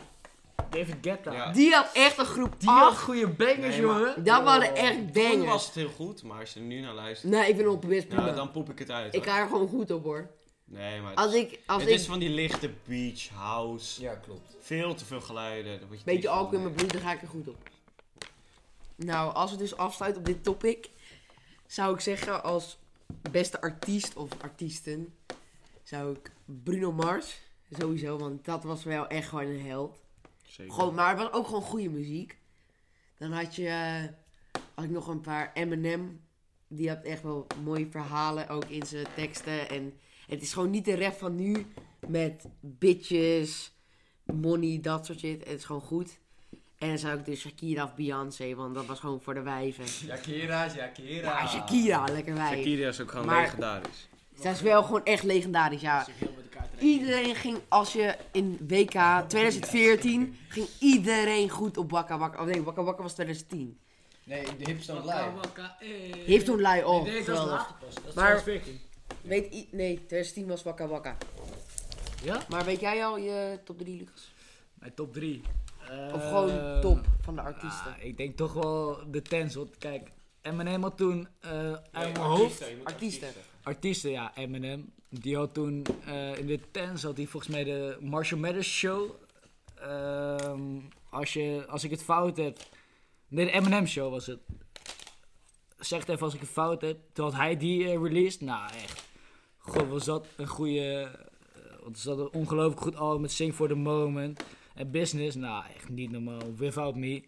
David Guetta.
Ja.
Die had echt een groep
Die
8.
had goede bangers,
Nee, maar-
jongen.
Dat waren echt
Toen
bangers.
was het heel goed, maar als je er nu naar luistert,
Nee, ik vind hem op best prima.
nou, dan poep ik het uit.
Ik
hoor.
ga er gewoon goed op hoor.
Nee, maar
Als ik, als
het
ik
is van die lichte beach house.
Ja, klopt.
Veel te veel geluiden. Daar word je
beetje
triest van.
alcohol in mijn bloed, dan ga ik er goed op. Nou, als we dus afsluiten op dit topic, zou ik zeggen als beste artiest of artiesten, zou ik Bruno Mars, sowieso, want dat was wel echt gewoon een held.
Zeker.
Gewoon, maar het was ook gewoon goede muziek. Dan had je, eh, had ik nog een paar Eminem, die had echt wel mooie verhalen ook in zijn teksten. En het is gewoon niet de rap van nu met bitches, money, dat soort shit. Het is gewoon goed. En dan zou ik dus Shakira of Beyoncé, want dat was gewoon voor de wijven.
Shakira, Shakira.
Ja, Shakira, lekker wijf.
Shakira is ook gewoon
Maar-
legendarisch.
Dat is wel gewoon echt legendarisch, ja. Iedereen ging, als je in WK 2014, ging iedereen goed op Wakka Wakka. Oh nee, Wakka Wakka was 2010.
Nee, de hipster live.
Heeft toen Lai al.
Nee, dat is
Geweldig.
later pas. Dat is
Maar-
maar... Viking.
Weet i- nee, 2010 was Wakka Wakka.
Ja?
Maar weet jij al je top 3, Lucas?
Mijn top 3. Eh,
Of gewoon top van de artiesten?
ik denk toch wel de tens, want kijk, Eminem had toen eh uit mijn
artiesten,
hoofd.
je moet
Artiesten.
artiesten, ja, Eminem. Die had toen eh, in de tens had hij volgens mij de Marshall Mathers show. Ehm, als, je, als ik het fout heb. Nee, de Eminem show was het. Zeg het even als ik het fout heb. Toen had hij die eh, released. Nou, echt. God, was dat een goede. Want ze hadden een ongelooflijk goed album met Sing for the Moment. En Business, nou echt niet normaal. Without Me.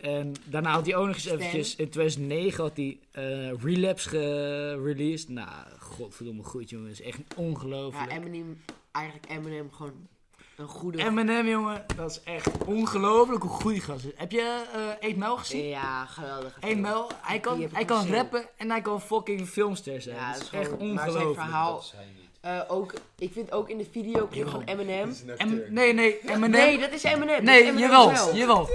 En daarna had hij ook nog eens eventjes, in 2009 had hij eh, Relapse gereleased. Nou, godverdomme goed jongens, echt
Ja,
ongelooflijk.
Eminem, eigenlijk Eminem gewoon een goede...
Eminem jongen, dat is echt ongelooflijk hoe goed die gast is. Heb je eh 8 Mel gezien?
ja, geweldig.
8 Mel, hij
Die
kan,
heb ik
hij kan
gezien.
rappen en hij kan fucking filmster zijn.
Ja,
dat is
dat is
echt
gewoon- maar zijn
ongelooflijk.
verhaal- Eh, ook, ik vind ook in de videoclip van Eminem...
Em- Nee, nee, Eminem.
Nee, dat is Eminem.
Nee,
dat is Eminem zelf.
jawel, jawel.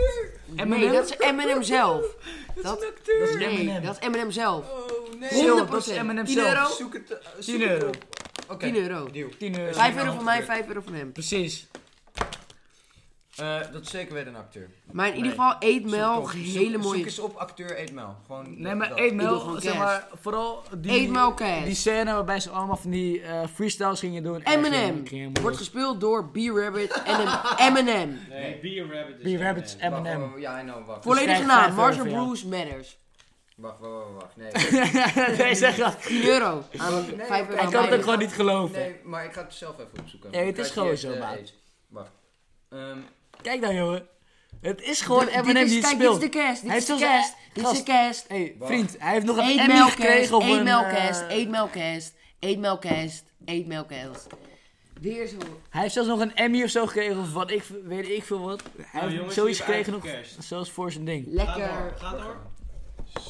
M&M,
Nee, dat is Eminem zelf. [LAUGHS] Dat
dat is M&M.
Nee,
Eminem.
dat is Eminem zelf.
Oh nee.
100%.
Yo, dat is Eminem
10
M&M zelf.
euro,
Zoek het, eh, zoek
10
het
euro.
op. Oké.
10 euro.
Deal.
10 euro.
5 euro van mij, 5 euro van hem.
Precies.
Eh, dat is zeker weer een acteur.
Maar in ieder geval, eet
Zoek het
Mel,
op.
hele
zoek, Zoek
mooie...
eens op acteur Eetmel. Gewoon
Nee, maar
dat.
1
Ik wil
mil,
gewoon
zeg
cash.
maar, vooral die,
Eet Mel cash.
die scène waarbij ze allemaal van die eh, freestyles gingen doen. Echt,
Eminem
ging- ging helemaal
M&M. wordt
los.
gespeeld door B-Rabbit en een
[LAUGHS]
M&M. Eminem.
Nee, Be a Rabbit is
B. Rabbits
Eminem.
Wacht,
Eminem.
oh, ja, I know, wacht.
Volledige
krijg
naam,
vijf euro
Marshall
voor jou.
Bruce Matters.
Wacht, wacht, wacht, wacht.
[LAUGHS]
Nee.
nee, zeg dat.
10
[LAUGHS]
euro. Aan 5 euro.
Hij
Ik kan het
aan
ook gewoon niet geloven.
Nee, maar ik ga het zelf even opzoeken.
Nee, het
Dan
is
krijg je
gewoon
het,
zo,
eh,
maat.
eens. Wacht. Ehm,
Kijk dan, jongen. Het is gewoon
Dit- dit
Eminem
is-
M&M die het
kijk,
speelt.
Dit is de cast. Dit
Hij
is de
heeft zelfs-
cast. Dit is de
gast.
cast.
hey,
Wacht.
vriend, hij heeft nog een
Eet
Emmy
Melkast,
gekregen op
eet
een...
Melkast,
eh,
eet Melkast, eet Melkast, eet Melkast. Weer zo.
Hij heeft zelfs nog een Emmy of zo gekregen, of wat ik, weet ik veel wat. Hij heeft
Nou, jongens,
zoiets
die hebben
gekregen nog,
uitgecashed.
zelfs voor zijn ding.
Ga door,
Lekker.
ga door.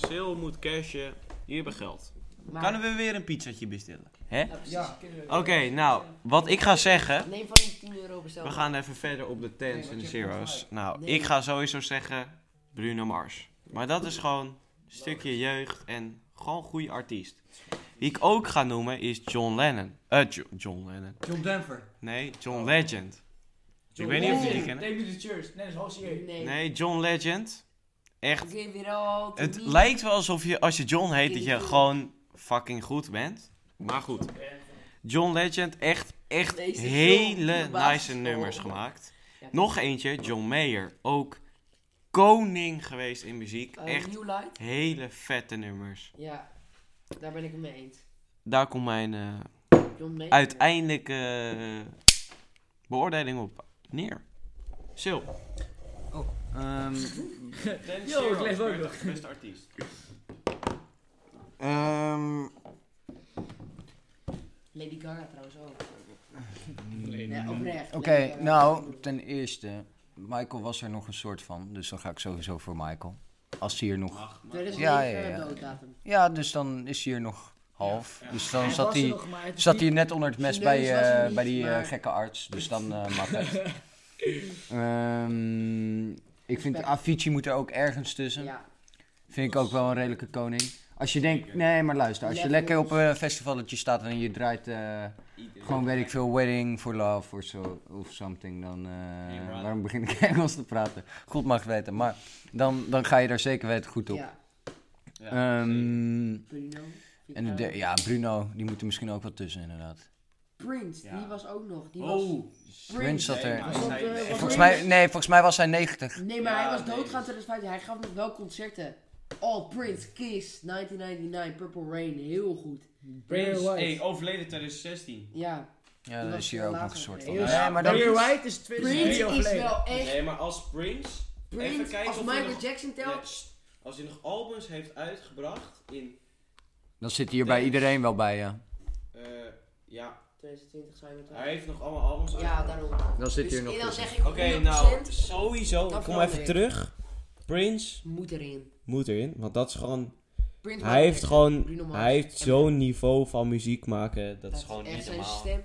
Sil moet cashen. Hier hebben geld.
Maar-
Kunnen we weer een pizzatje bestellen? Hè?
ja.
Oké, nou, wat ik ga zeggen.
Neem van die 10 euro bestel.
We gaan even verder op de tens en de zeros. Nou, ik ga sowieso zeggen Bruno Mars. Maar dat is gewoon een stukje jeugd en gewoon een goede artiest. Wie ik ook ga noemen is John Lennon. Eh, Jo- John Lennon.
John Denver.
Nee, John Legend. Ik weet niet of jullie die kennen.
Neem de church. Nee, dat is half serieus.
Nee.
Nee, John Legend. Echt
Give it all to
Het
me.
lijkt wel alsof je, als je John heet, dat je gewoon fucking goed bent. Maar goed. John Legend, echt, echt
Deze
hele
film, de
nice
basisschool.
nummers gemaakt.
Ja.
Nog eentje, John Mayer. Ook koning geweest in muziek.
Eh,
Echt
New Light?
hele vette nummers.
Ja, daar ben ik het mee eens.
Daar komt mijn eh,
John Mayer.
uiteindelijke eh, beoordeling op neer. Sil.
[LAUGHS]
Ehm,
Yo, ik leef ook nog.
Beste artiest.
ehm,
Lady Gaga trouwens ook. Ja, oprecht.
Oké,
Lady Gaga.
nou, ten eerste, Michael was er nog een soort van, dus dan ga ik sowieso voor Michael. Als hij hier nog...
2009
Ja, ja, ja.
dooddatum.
Ja, dus dan is hij hier nog half. Dus dan
Hij
zat
was er
hij,
nog, maar het
zat
is
hij net onder het mes
Zijn neus
bij,
was er
eh,
niet,
bij die eh,
maar-
gekke arts, dus dan eh mag [LAUGHS] het. Ehm, ik vind Avicii moet er ook ergens tussen.
Ja.
Vind ik ook wel een redelijke koning. Als je denkt, nee, maar luister, als je
Leftovers.
lekker op een festivalletje staat en je draait eh, gewoon, weet ik veel, Wedding for Love of, zo, of something, dan... eh,
brother.
waarom begin ik [LAUGHS] Engels te praten? God mag het weten, maar dan, dan ga je daar zeker weten goed op.
Ja.
Ehm,
Bruno.
en de derde- ja, Bruno, die moet er misschien ook wel tussen, inderdaad.
Prince, die was ook nog. Die was...
Oh,
Prince zat er...
Was dat, eh, was
Volgens
Prince-
mij, nee, volgens mij was hij 90.
Nee, maar
Ja,
hij was
nee.
doodgaan in 2015. Hij gaf nog wel concerten. All Prince, Kiss, 1999, Purple Rain. Heel goed.
Barry White.
overleden 2016.
Ja.
Ja, dan
was
is hij
wel
ook nog
later
een soort van...
geweest.
Ja, maar dan...
Barry White is
Prince
20
is
jaar geleden.
wel echt...
Nee, maar als Prince. Even
Prince,
kijken
als
of hij
Michael
nog-
Jackson
Ja,
telt...
sst. als hij nog albums heeft uitgebracht in.
Dan zit hij hier bij iedereen wel bij, ja.
eh, ja,
2020 zijn we
hij
het
heeft nog allemaal albums
wel. Ja,
uitgebracht.
daarom.
Dan zit hij hier nog
Dus dan
tussen.
zeg ik 100%
Oké, nou, sowieso.
Dat
Ik kom
wel
even
weer.
terug. Prince
moet erin.
moet erin, want dat is gewoon.
Prince
Hij heeft
Bruno
gewoon.
Mars.
Hij heeft zo'n niveau van muziek maken. Dat, is gewoon
echt
niet
zijn
normaal.
stem.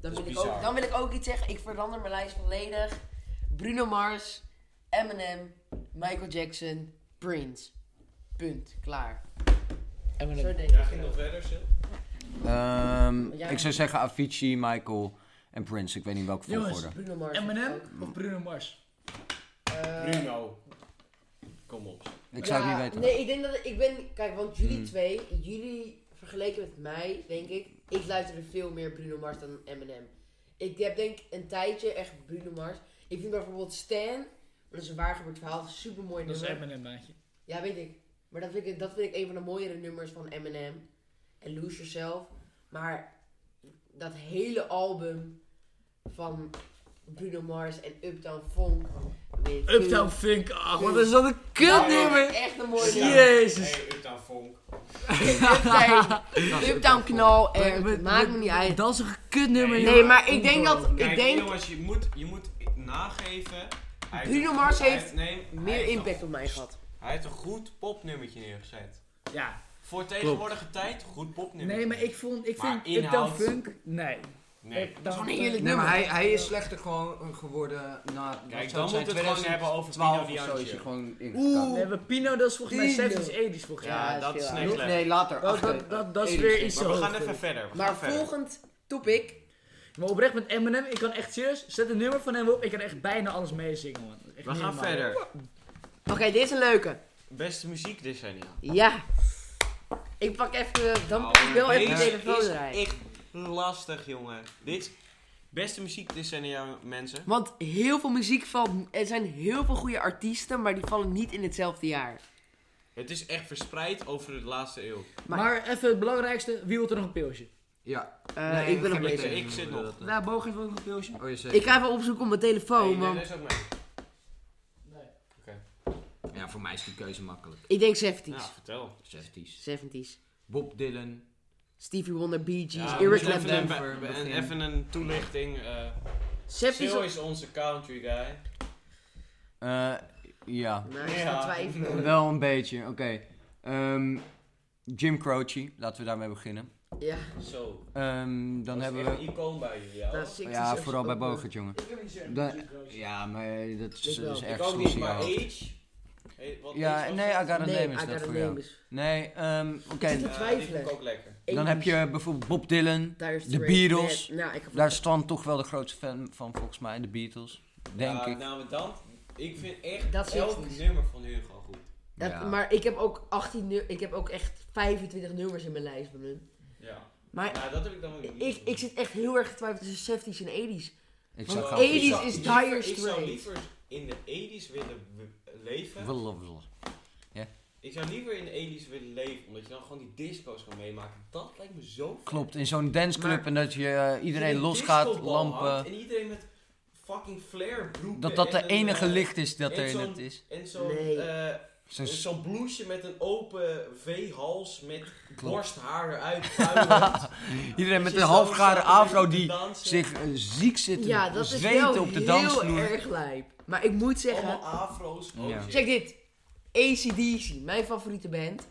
Dan wil, ik ook, dan wil ik ook iets zeggen. Ik verander mijn lijst volledig. Bruno Mars, Eminem, Michael Jackson, Prince. Punt. Klaar. Zo
Eminem.
denk ik. het.
verder, Sil.
Ehm,
Ja.
ik zou zeggen Avicii, Michael en Prince. Ik weet niet welke
Jongens.
volgorde.
Bruno Mars. eh,
Eminem of Bruno Mars?
Bruno. Kom op.
Ik zou
Ja,
het niet weten. Hmm.
Nee, ik denk dat ik ben. Kijk, want jullie twee, jullie vergeleken met mij, denk ik, ik luisterde veel meer Bruno Mars dan Eminem. Ik heb denk ik een tijdje echt Bruno Mars. Ik vind bijvoorbeeld Stan, maar dat is een waargebeurd verhaal, super mooi
Dat is
nummer.
Eminem, maatje.
Ja, weet ik. Maar dat vind ik, dat vind ik een van de mooiere nummers van Eminem. En Lose Yourself. Maar dat hele album van Bruno Mars en Uptown Funk. weet ik
Uptown Fink, ach, wat is dat een kut
veel.
nummer.
Echt een mooie nummer.
Jezus.
Hey, Uptown Funk. [LAUGHS]
Uptown, Uptown knal
Maar-
er.
maar-
Eh, Maakt me niet uit.
Dat is een kut nummer,
Nee, maar ik denk dat... Ik
Kijk,
denk
jongens, je moet, je moet nageven. Hij heeft
Bruno
een-
Mars
hij
heeft
nee, hij
meer
heeft
impact
een-
op mij gehad.
Hij heeft een goed popnummertje neergezet.
Ja.
Voor tegenwoordige tijd, goed popnummer.
Nee, maar ik vond, ik
Maar
vind Uptown
inhoud-
Funk, nee. Eh,
Nee.
Uptown
Zo'n
Funk-
heerlijk
Nee, maar
nummer.
hij, hij is slechter gewoon eh, geworden na... wat zou
Kijk, dan
zijn,
moet het gewoon
2012
hebben over
of
Pino
zo is hij
Bianchi.
gewoon
We
ingekomen.
hebben Pino, dat is volgens mij
Pino.
70s, 80s volgens mij.
Ja,
Ja, dat
is
is
veel
next level.
Nee, later.
Dat,
achter.
dat, dat, dat is
Eerder
weer
is
iets
Maar we gaan
hoger.
even verder. We gaan
Maar
verder.
volgend topic.
Maar oprecht met Eminem, ik kan echt serieus, zet een nummer van hem op, ik kan echt bijna alles meezingen, man. Echt
We
niet
gaan
normaal.
verder.
Oké, dit is een leuke.
Beste muziek decennia.
Ja. Ik pak even... Dan pak ik wel even de
Oh, Deze
telefoon
is
eruit.
echt lastig, jongen. Dit is beste muziek decennia, mensen.
Want heel veel muziek valt. Er zijn heel veel goede artiesten, maar die vallen niet in hetzelfde jaar.
Het is echt verspreid over de laatste eeuw.
Maar, even het belangrijkste, wie wil er nog een pilsje?
Ja.
Eh,
Nee,
ik ben
ga
nog
met
bezig.
tegen.
Ik zit nog.
Dat, eh,
Nou, Boog heeft ook nog een pilsje.
Oh, je zegt-
Ik ga even opzoeken op mijn telefoon,
Hey, nee,
Oh, man.
dat is ook mee.
Ja, voor mij is die keuze makkelijk.
Ik denk 70s.
Ja, vertel.
60s.
70s.
Bob Dylan.
Stevie Wonder, Bee Gees,
Ja,
Eric
dus even
Clapton.
een-
Clapton.
even een- Even een toelichting. eh,
70s.
Sil
op-
is onze country guy.
Eh, ja.
Nou, ik
Ja.
sta twijfelen.
Wel een beetje, oké. Ehm, Jim Croce, laten we daarmee beginnen.
Ja,
Zo.
Ehm, dan hebben we...
een icoon bij jullie, ja.
nou,
hoor.
60s.
Ja,
is
vooral
ook
bij
wel-
Bogert, jongen. Dan- ja, maar eh, dat is,
Ik wel.
dat is
Ik
echt
ook niet, maar
sociaal.
Age. Hey, wat
Ja,
Age was
nee, I
dat?
got a
eh, Nee,
name
I
is
got
dat
a
voor
name
jou.
is.
Nee, ehm, oké.
te
Ja, die
twijfelen.
vind ik ook lekker.
Dan
80s.
heb je bijvoorbeeld Bob Dylan.
Dire Straits,
de Beatles.
Bad. Nou, ik heb
Daar staan toch wel de grootste fan van, volgens mij, de Beatles. Denk
Ja,
ik.
Nou, maar dan... Ik vind echt
Dat is
elk
echt-
nummer van hun gewoon goed.
dat-
Ja.
Maar ik heb ook 18 nu- Ik heb ook echt 25 nummers in mijn lijst van hun.
Ja.
Maar
Nou, dat heb ik dan ook niet.
ik, ik zit echt heel erg getwijfeld tussen 70s en 80s.
Ik
Want
zou gaan...
80s
voor-
is
Ik
Dire
zou- Ik zou
Straits.
liever in de 80s willen w- leven.
Willen, willen.
Ik zou liever in de 80s willen leven, omdat je dan gewoon die disco's kan meemaken. Dat lijkt me zo vet.
Klopt, in zo'n danceclub
Maar-
en dat je eh, iedereen
Die
losgaat,
discobal hangt
lampen.
En iedereen met fucking flare broeken.
Dat dat
en
de
een,
enige
eh,
licht is dat
en
er in
zo'n-
het is.
En zo'n
Nee.
eh,
Zo'n s-
zo'n blouseje met een open V-hals met borsthaar eruit.
[LAUGHS]
puilend.
Iedereen met
Dat je
een
zo
halfgare
staat een
afro
beetje te
die
dansen.
zich eh, ziek zit te
Ja, dat is wel
zweten op de
heel
dansvloer.
erg lijp. Maar ik moet zeggen,
Allemaal afro's. Oh,
Ja.
shit.
check dit. ACDC, mijn favoriete band.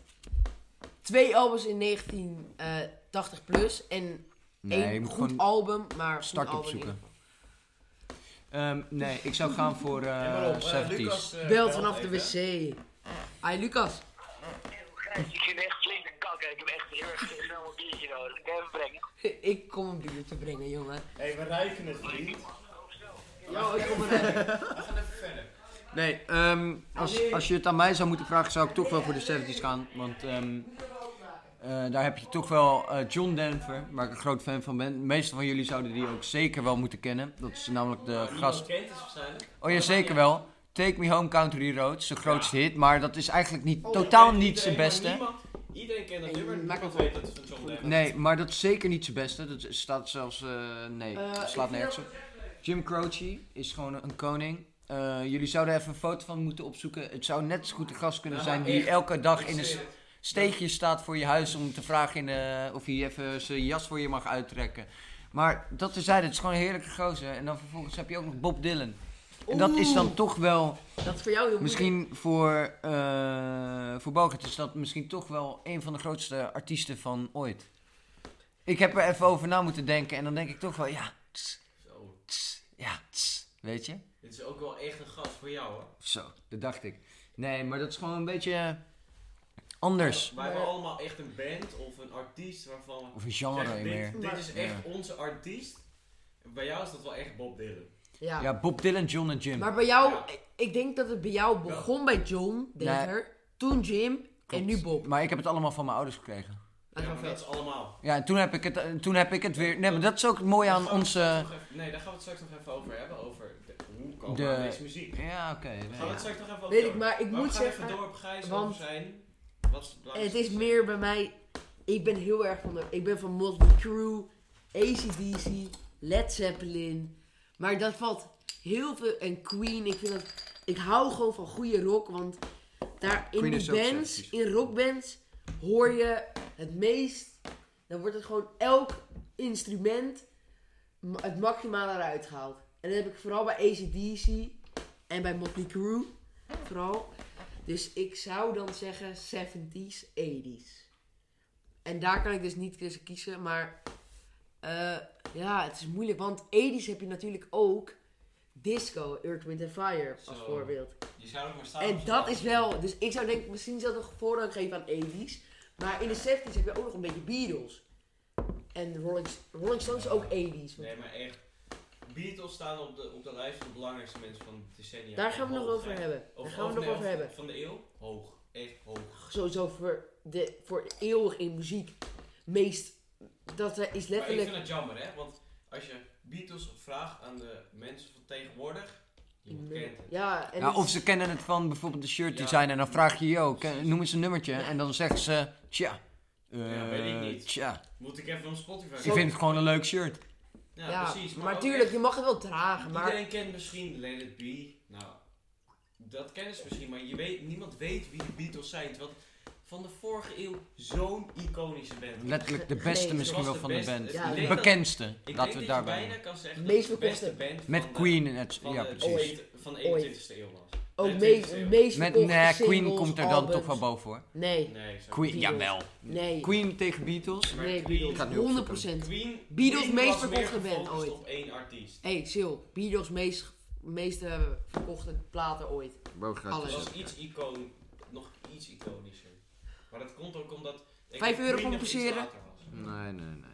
Twee albums in 1980 plus en
Nee, je
één
moet
goed
gewoon
album, maar goed
start
album
opzoeken. Ehm, nee, ik zou gaan voor eh
En waarom? Eh,
70s.
Lucas, eh,
niet. Belt vanaf de
even.
wc. Hi Lucas.
Ik vind echt flink de kakken. Ik heb echt heel erg snel een biertje nodig. Ik ga even brengen.
[LAUGHS] Ik kom een biertje brengen, jongen.
hey, we ruiken het, vriend.
Ja, ik kom eruit.
Nee, ehm, als, als je het aan mij zou moeten vragen, zou ik toch wel voor de 70s gaan. Want ehm, eh, daar heb je toch wel eh, John Denver, waar ik een groot fan van ben. De meeste van jullie zouden die ook zeker wel moeten kennen. Dat is namelijk de gast.
Kent is waarschijnlijk.
Oh ja, zeker wel. Take Me Home Country Road, zijn grootste hit. Maar dat is eigenlijk niet,
Oh,
Oh,
totaal
Kent
niet zijn
iedereen,
beste.
maar niemand- Iedereen kent dat
En
nummer,
maak
niemand
het
weet dat het van John Denver is.
Nee, maar dat is zeker niet zijn beste. Dat staat zelfs. eh, nee,
Eh,
dat
ik
slaat nergens
vind
op. Jim Croce is gewoon een koning. Eh, jullie zouden even een foto van moeten opzoeken. Het zou net zo goed een gast kunnen
Ja,
zijn die
echt.
elke dag in
Ik
een
zit-
s- steegje staat voor je huis om te vragen in, eh, of hij even zijn jas voor je mag uittrekken. Maar dat terzijde, het is gewoon een heerlijke gozer. En dan vervolgens heb je ook nog Bob Dylan. En dat is dan toch wel
[LAUGHS] Dat is voor jou heel moeilijk.
Misschien voor, eh voor Bogert is dat misschien toch wel een van de grootste artiesten van ooit. Ik heb er even over na moeten denken en dan denk ik toch wel, ja, tss,
Zo.
tss, ja, tss, weet je?
Dit is ook wel echt een gast voor jou hoor.
Zo, dat dacht ik. Nee, maar dat is gewoon een beetje eh, anders.
Wij hebben allemaal echt een band of een artiest waarvan we
Of een genre
zeggen,
meer.
dit, dit is
Ja.
echt onze artiest. Bij jou is dat wel echt Bob Dylan.
Ja.
Ja, Bob Dylan, John en Jim.
Maar bij jou,
Ja.
ik denk dat het bij jou begon bij John Denver, toen Jim en
Klopt.
nu Bob.
Maar ik heb het allemaal van mijn ouders gekregen.
Dat is wel
dat is
vet.
allemaal.
Ja, en toen heb ik het, eh, toen heb ik het weer... Nee, maar dat is ook het mooie aan onze...
Nee, daar gaan we het straks nog even over hebben. Over de, hoe komen
De-
we aan deze muziek. Gaan
Ja, oké. nee,
we
ja.
het straks nog even over
Weet ik,
hebben.
maar ik
we
moet
gaan
zeggen...
even door op Gijs
want-
over zijn... Wat is het
Het
belangrijkste?
is meer bij mij. Ik ben heel erg van de. Ik ben van Motley Crue, ACDC, Led Zeppelin. Maar dat valt heel veel. En Queen. Ik vind dat. Ik hou gewoon van goede rock. Want daar in
Queen is
die
ook
bands,
sexy.
in rockbands, hoor je het meest. Dan wordt het gewoon elk instrument ma- het maximale eruit gehaald. En dat heb ik vooral bij ACDC en bij Motley Crue. Vooral. Dus ik zou dan zeggen 70s, 80s. En daar kan ik dus niet tussen kiezen, maar eh, ja, het is moeilijk. Want 80s heb je natuurlijk ook disco, Earth, Wind and Fire als
Zo.
voorbeeld.
Je zou ook maar staan
En
op z'n
dat
dag.
is wel, dus ik zou denk ik misschien zelfs nog voorrang geven aan 80s. Maar in de 70s heb je ook nog een beetje Beatles. En Rolling, Rolling Stones is ook 80s.
Nee, maar echt. Beatles staan op de, op de lijst van de belangrijkste mensen van het decennium.
Daar gaan we
Hoog,
nog over
hè.
hebben.
Of-
Daar gaan we
of
nog
nee,
over
of
hebben.
Van de eeuw? Hoog. Echt hoog.
Sowieso voor, de, voor eeuwig in muziek. Meest, dat eh, is
Maar ik
letterlijk...
vind het jammer, hè? Want als je Beatles vraagt aan de mensen van tegenwoordig, niemand kent het.
Ja, en
Ja,
het
Nou, of
is-
ze kennen het van bijvoorbeeld de shirt
Ja.
design en dan vraag je je ook, eh, noem eens een nummertje. En dan zeggen ze, tja. eh,
Ja, weet ik niet.
Tja,
Moet ik even op Spotify
ik vind het gewoon een leuk shirt.
Ja,
ja,
precies.
Maar,
ook
tuurlijk,
echt,
je mag het wel dragen, maar...
Iedereen kent misschien Let It Be. Nou, dat kennen ze misschien, maar je weet, niemand weet wie de Beatles zijn. Terwijl het van de vorige eeuw zo'n iconische band. is.
Letterlijk de beste
Nee,
misschien
zoals de
wel van de
beste.
band.
Ja,
ik
De
denk dat-
bekendste,
Ik
laten we
denk
het
dat je
daarbij.
bijna kan zeggen dat
Meest
het de beste
verkochte.
band
Met
van de-
Queen en het,
van
ja
de,
precies.
ooit- van de
Ooit.
21ste eeuw was.
Ook
Nee,
meest,
20e eeuw.
meest
Met,
verkochte
nee, Queen
singles,
komt er dan toch
albums.
wel boven hoor.
Nee,
Nee, zo.
Queen,
Beatles.
jawel.
nee.
Queen tegen Beatles.
Maar
nee,
Queen-
ga
Beatles.
het nu opzoeken.
100%.
Queen,
Beatles
Queen
meest
was meer
verkochte band
gefocust
ooit.
op één artiest.
Hé, hey, chill. Beatles meest, meest eh, verkochte platen ooit.
Boogruit
Alles.
is
Het
het.
was iets icoon, nog iets iconischer. Maar dat komt ook omdat... ik
Vijf
denk
euro
Queen
voor
nog iets
passeren.
later was.
Nee, nee, nee.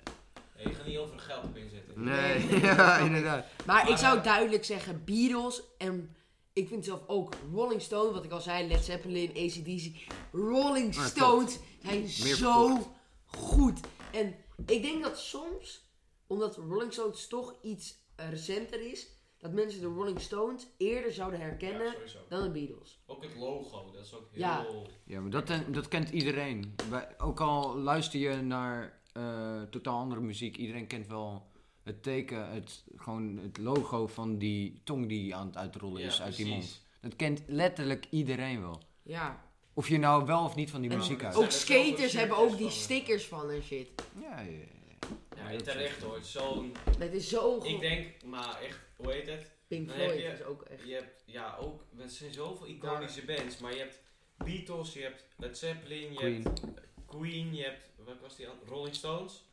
Nee, je gaat niet over geld op inzetten.
Nee,
Nee.
[LAUGHS] ja, inderdaad.
Maar ik
Maar,
zou
eh,
duidelijk zeggen Beatles en ik vind zelf ook Rolling Stone, wat ik al zei, Led Zeppelin, ACDC. Rolling
klopt.
Stones zijn zo
verkocht.
goed. En ik denk dat soms, omdat Rolling Stones toch iets eh, recenter is, dat mensen de Rolling Stones eerder zouden herkennen
Ja, sowieso.
dan de Beatles.
Ook het logo, dat is ook heel...
Ja.
Ja, maar dat, eh, dat kent iedereen. Wij- ook al luister je naar eh, totaal andere muziek, iedereen kent wel het teken, het, gewoon het logo van die tong die aan het uitrollen
Ja,
is uit die
precies.
mond. Dat kent letterlijk iedereen wel.
Ja.
Of je nou wel of niet van die
En
muziek houdt.
zijn
Ook
er zoveel
skaters hebben
shirtjes
ook die
van.
stickers van en shit.
Ja, ja, ja.
Ja, en terecht hoor. Zo'n...
Dat is zo goed.
Ik denk, maar echt, hoe heet het?
Pink
dan heb
Floyd
je-
is ook echt.
Je hebt, ja, ook, er zijn zoveel iconische bands, maar je hebt Beatles, je hebt Led Zeppelin, je
Queen.
hebt Queen, je hebt, wat was die andere? Rolling Stones.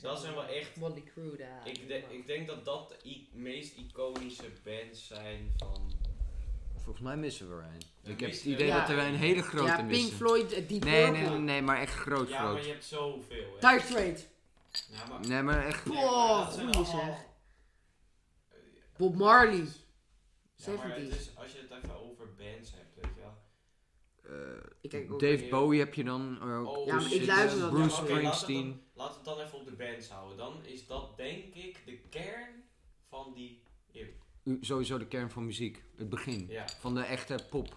Dat zijn wel echt,
Motley Crue daar.
ik, de- ik denk dat dat de i- meest iconische bands zijn van...
Volgens mij missen we er een.
We
ik heb het
missen-
idee
Ja.
dat er een hele grote
ja, Pink
missen.
Floyd, eh, Deep
nee,
Purple.
nee, nee, nee, maar echt groot,
Ja, maar
groot.
je hebt zoveel, hè.
Dire Straits.
Ja, maar...
Nee, maar echt...
Boah,
dat zijn
goeie
allemaal-
zeg. Bob Marley.
Ja, maar het
70s.
is, als je het even over bands hebt, weet je wel.
Ik kijk ook
Dave
weer.
Bowie heb je dan. er ook
Oh,
Ja, maar
tussen
ik luister
zitten.
dat
Bruce
Ja, oké, laten we
Springsteen.
dan- Laten we het dan even op de bands houden. Dan is dat denk ik de kern van die eeuw.
U- Sowieso de kern van muziek. Het begin.
Ja.
Van de echte pop.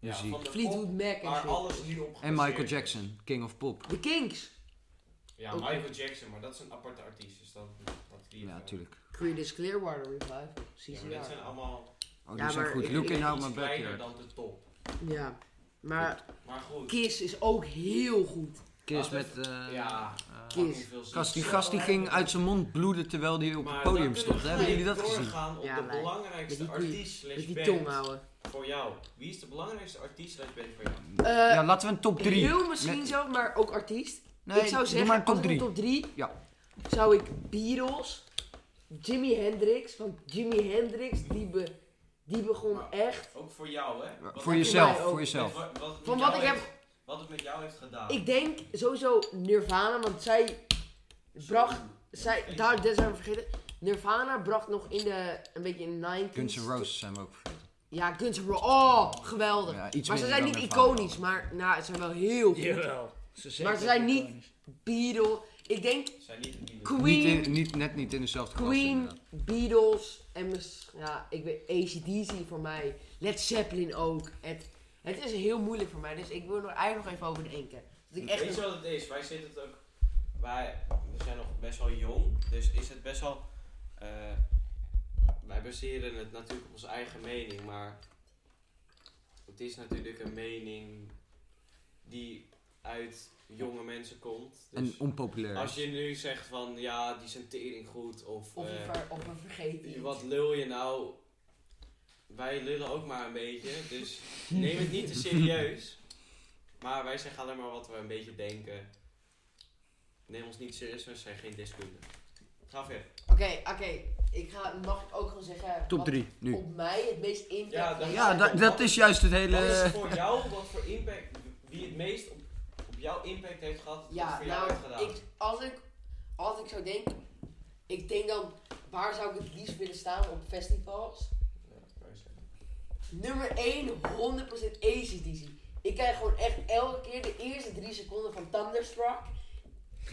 Ja,
Muziek.
van de
Fleetwood Mac
pop,
en
waar
shit.
alles nu op
En
gebaseerd
Michael
is.
Jackson, King of Pop.
De Kings.
Ja,
Ook.
Michael Jackson, maar dat is een aparte artiest. Dus dat, dat die
Ja, natuurlijk.
Creedence Clearwater Revival.
Ja,
CCR.
maar dat zijn allemaal
Oh, die
Ja,
zijn
maar
goed.
ik-
Look in
iets
Out My
kleiner
Backyard.
dan de top.
Ja. Maar
Maar goed.
Kiss is ook heel goed.
Kiss
Laten
met... eh,
ja,
Kiss.
fucking veel zin.
Gast, die gast die ging uit zijn mond bloeden terwijl die op
Maar
het
dan
podium
kunnen
stond.
we
hè? Hebben jullie dat
gelijk
gezien?
doorgaan op
Ja,
de
wij-
belangrijkste
met die-
artiest slash
Met die
band
tong houden.
voor jou. Wie is de belangrijkste artiest slash band voor jou?
Eh,
Ja, laten we een top 3.
Heel misschien zelf, maar ook artiest.
Nee,
ik zou
doe
zeggen,
maar een top
als ik een
drie.
top 3
Ja.
zou ik Beatles, Jimi Hendrix. Want Jimi Hendrix, die, be- die begon echt.
Ook voor jou, hè? Wat-
Voor jezelf,
mij ook.
voor jezelf.
Wat, wat het
Van
met
wat
jou
ik
heeft- Wat het met jou heeft gedaan.
Ik denk sowieso Nirvana, want zij bracht. Zij, daar, dat zijn we vergeten. Nirvana bracht nog in de. een beetje in de 90s.
Guns N' Roses zijn we ook vergeten.
Ja, Guns N' Roses. Oh, geweldig.
Ja, iets
maar ze
minder
zijn
dan
niet
Nirvana.
iconisch, maar nou, ze zijn wel heel goed.
Jawel. Ze
Maar ze zijn niet- Beatles. Ik denk
Niet
Queen,
in, niet, net niet in dezelfde klas.
Queen,
inderdaad.
Beatles en mis- ja, ik weet ACDC voor mij. Led Zeppelin ook. Het, het is heel moeilijk voor mij, dus ik wil er eigenlijk nog even over denken. Dat
Weet
ik echt
je wat het is? Wij zitten het ook. Wij we zijn nog best wel jong, dus is het best wel. eh, wij baseren het natuurlijk op onze eigen mening, maar het is natuurlijk een mening die uit jonge mensen komt. Dus
En onpopulair.
als je nu zegt van ja, die zijn tering goed of,
of, een
eh,
ver, of een vergeten.
wat lul je nou? Wij lullen ook maar een beetje, dus neem het niet te serieus. Maar wij zeggen alleen maar wat we een beetje denken. Neem ons niet serieus, we zijn geen deskundigen. Ga verder.
Oké, oké. Ik ga, mag ik ook gewoon zeggen.
Top
wat
3, nu.
Op mij het meest impact.
Ja,
heeft?
dat-
Ja, da- dat is juist het
Wat is
hele...
voor jou, wat voor impact, wie het meest op, op jouw impact heeft gehad, wat het
Ja,
voor jou
nou,
heeft gedaan?
ik, als, ik, als ik zou denken, ik denk dan, waar zou ik het liefst willen staan op festivals?
Ja, dat kan je zeggen.
Nummer 1, 100% ACDC. Ik krijg gewoon echt elke keer de eerste drie seconden van Thunderstruck.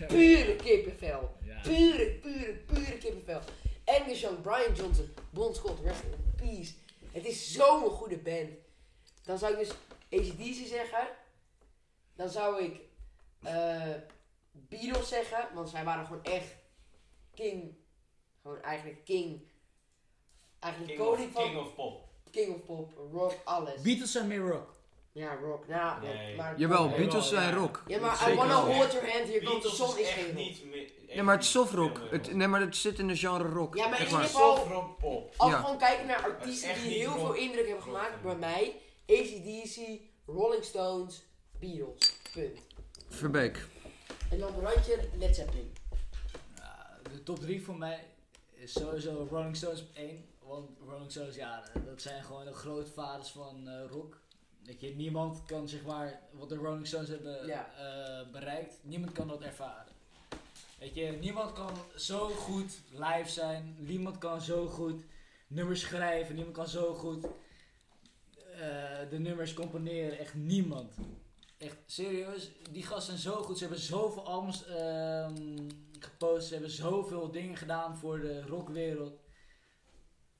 Pure kippenvel. Pure, pure, pure kippenvel. En de zo'n Brian Johnson, Bon Scott, Rest in Peace. Het is zo'n goede band. Dan zou ik dus ACDC zeggen. Dan zou ik eh, Beatles zeggen, want zij waren gewoon echt king. Gewoon eigenlijk king. Eigenlijk
King,
koning
of,
van
King of Pop.
King of Pop, rock, alles.
Beatles zijn meer rock.
ja, rock. Nou,
Nee.
maar,
Jawel,
Ja,
Beatles
Jawel,
zijn
ja.
rock.
Ja, maar I
Zeker
wanna
wel.
hold your hand, hier komt de
Beatles
zon
is
is
echt
geen rock.
niet meer.
Nee, maar het is softrock.
heel erg
Het, nee, maar het zit in de genre rock.
Ja, maar
Echt
in
waar.
ieder geval-
Soft pop.
Als we
Ja.
gewoon kijken naar
Het is
artiesten
echt
die
niet
heel
rock.
veel indruk hebben
Rock,
gemaakt
ja.
bij mij, ACDC, Rolling Stones, Beatles. Punt.
Verbeek.
En dan randje Led Zeppelin.
Ja, Nou, de top 3 voor mij is sowieso Rolling Stones op 1. Want Rolling Stones, ja, dat zijn gewoon de grootvaders van eh, rock. Dat je, niemand kan zeg maar wat de Rolling Stones hebben
Ja.
eh, bereikt, niemand kan dat ervaren. Weet je, niemand kan zo goed live zijn, niemand kan zo goed nummers schrijven, niemand kan zo goed eh, de nummers componeren, echt niemand. Echt serieus, die gasten zijn zo goed. Ze hebben zoveel albums ehm, gepost. Ze hebben zoveel dingen gedaan voor de rockwereld.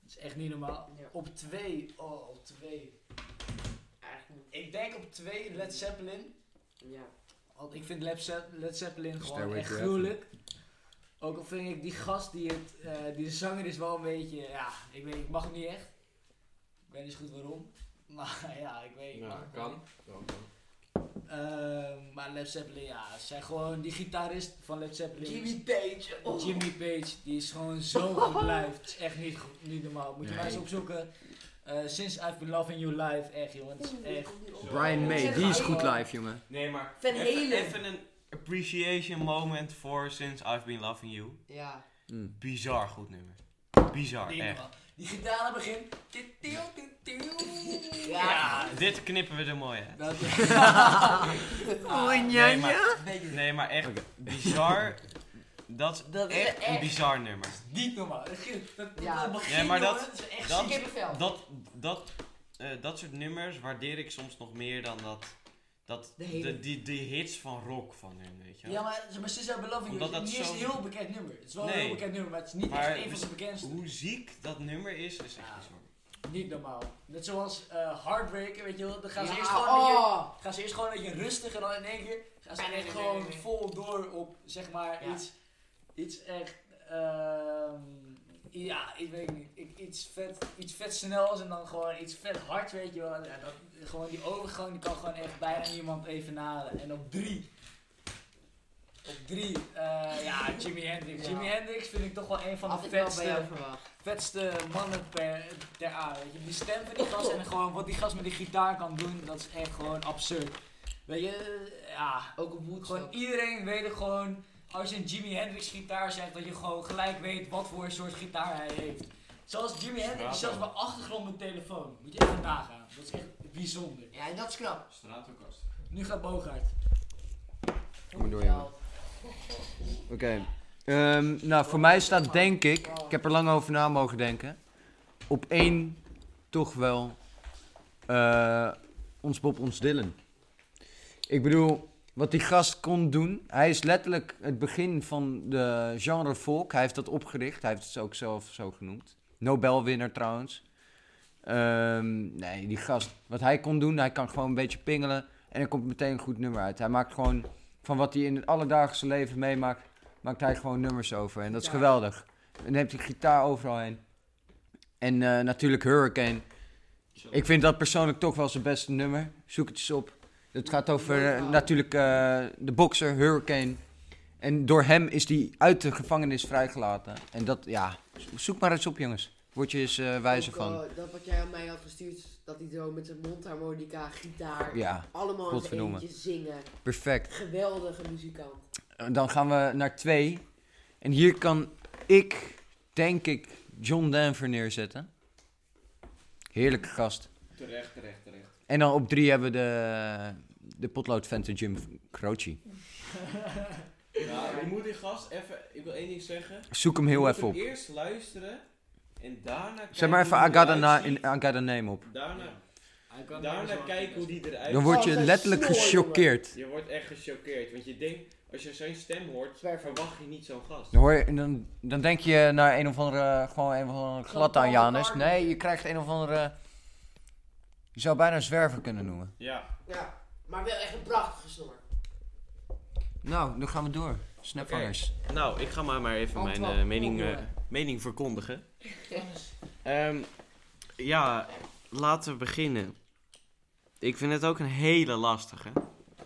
Dat is echt niet normaal.
Ja.
Op twee, oh, op twee.
Eigenlijk niet.
Ik denk op twee Led Zeppelin.
Ja.
Want ik vind Led, Ze- Led Zeppelin gewoon
Stairway
echt
to Heaven.
gruwelijk. Ook al vind ik die gast die het, eh, die de zanger is wel een beetje, ja, ik weet, ik mag hem niet echt. Ik weet niet zo goed waarom. [LAUGHS] Maar ja, ik weet, ik mag hem gewoon niet. Ehm, maar Led Zeppelin, ja, ze zijn gewoon die gitarist van Led Zeppelin.
Jimmy Page. Oh.
Jimmy Page, die is gewoon zo goed live. Het is echt niet, go- niet normaal. Moet je maar eens opzoeken. Eh, Since I've Been Loving You Live, echt jongen. Het is echt.
Brian May, die is
oh,
goed live, jongen.
Nee, maar
Van
even,
Halen.
even een appreciation moment voor Since I've Been Loving You.
Ja.
Mm.
Bizar goed nummer. Bizar,
niet
echt.
normaal. Die gitaar aan het begin.
Ja.
Dit knippen we er mooi uit.
Dat
Nee, maar, nee, maar echt bizar. Dat is
Dat is
echt,
echt-
een bizar nummer.
is niet normaal. Dat, dat, dat,
Ja.
dat begin,
Ja, maar dat-
jongen, het is echt
dat-
Kippenvel.
Dat, dat, eh, dat soort nummers waardeer ik soms nog meer dan dat, dat
De hele-
de, die, die hits van rock van hun, weet je wel.
Ja, maar, maar Since I've Been Loving You
Omdat
is
dat
niet eens
zo-
een heel bekend nummer. Het is wel een
Nee.
heel bekend nummer, maar het is niet
Maar
echt een van
we-
zijn bekendste.
Hoe ziek dat nummer is, is echt
Ja.
bizar.
Niet normaal. Net zoals eh Heartbreaker, weet je wel. Dan gaan ze
Ja,
eerst gewoon een beetje-
oh.
gaan ze eerst gewoon een beetje rustig en dan in één keer gaan ze
Nee, nee,
echt
nee,
gewoon
nee, nee.
vol door op zeg maar
Ja.
iets, iets echt, ehm, ja, ik weet niet, ik, iets vet, iets vet snels en dan gewoon iets vet hard, weet je wel. Ja, dat, gewoon die overgang die kan gewoon echt bijna niemand evenaren. En op drie, op drie, eh, ja, Jimi Hendrix.
Ja.
Jimi Hendrix vind ik toch wel een van
Had
de
ik wel bij
vetste
jou verwacht.
vetste mannen per, ter aarde. Weet je, die stem van die gast en gewoon wat die gast met die gitaar kan doen, dat is echt gewoon absurd. Weet je, ja,
Ook op
gewoon
Woodstock.
iedereen weet het gewoon, als je een Jimi Hendrix gitaar zegt, dat je gewoon gelijk weet wat voor soort gitaar hij heeft. Zoals Jimi Hendrix, die zelfs bij achtergrond met telefoon. Moet je even nagaan, dat is echt bijzonder.
Ja, en dat is
Ah.
knap.
Stratenkast.
Nu gaat Bogart.
Kom maar door, jongen. Oké. Ehm, nou, voor mij staat denk ik, ik heb er lang over na mogen denken, op één toch wel eh, ons Bob, ons Dylan. Ik bedoel, Wat die gast kon doen. Hij is letterlijk het begin van de genre folk. Hij heeft dat opgericht. Hij heeft het ook zelf zo genoemd. Nobelwinnaar trouwens. Ehm, nee, die gast. Wat hij kon doen, hij kan gewoon een beetje pingelen. En er komt meteen een goed nummer uit. Hij maakt gewoon van wat hij in het alledaagse leven meemaakt, maakt hij gewoon nummers over. En dat is geweldig. En neemt die gitaar overal heen. En eh, natuurlijk Hurricane. Ik vind dat persoonlijk toch wel zijn beste nummer. Zoek het eens op. Het gaat over eh, natuurlijk eh, de bokser Hurricane. En door hem is die uit de gevangenis vrijgelaten. En dat, ja, zoek maar eens op jongens. Word je eens eh, wijzer
Ook,
van.
eh, dat wat jij aan mij had gestuurd, dat hij zo met zijn mondharmonica, gitaar,
Ja,
allemaal in zijn
godverdomme.
eentje zingen.
perfect.
Geweldige muzikant.
Dan gaan we naar twee. En hier kan ik, denk ik, John Denver neerzetten. Heerlijke gast. Terecht, terecht, terecht. En dan op drie hebben we de, de potloodventen Jim Croce.
Ja, je moet die gast even... Ik wil één ding zeggen.
Zoek hem heel
Je
even
moet
op.
hem eerst luisteren en daarna kijken
Zet maar even
hoe
I
die
got, a
eruit
na-
ziet.
in- I got a name op.
Daarna,
Hij kan
daarna
nergens
kijken hoe
anders.
die eruit
Dan word je
Oh,
letterlijk
dat is mooi,
gechoqueerd.
Je wordt echt gechoqueerd, want je denkt, als je zijn stem hoort,
Zwerver.
verwacht je niet zo'n gast.
Dan, hoor je, en dan, dan denk je naar een of andere, gewoon een of andere glad aan Janus. Nee, je krijgt een of andere... Je zou bijna een zwerver kunnen noemen.
Ja.
Ja, maar wel echt een prachtige snor.
Nou, dan gaan we door. Snapvangers.
Nou, ik ga maar, maar even mijn
Antwoord.
eh, mening,
Oh,
eh,
jongen.
mening verkondigen. Ehm, ja, laten we beginnen. Ik vind het ook een hele lastige.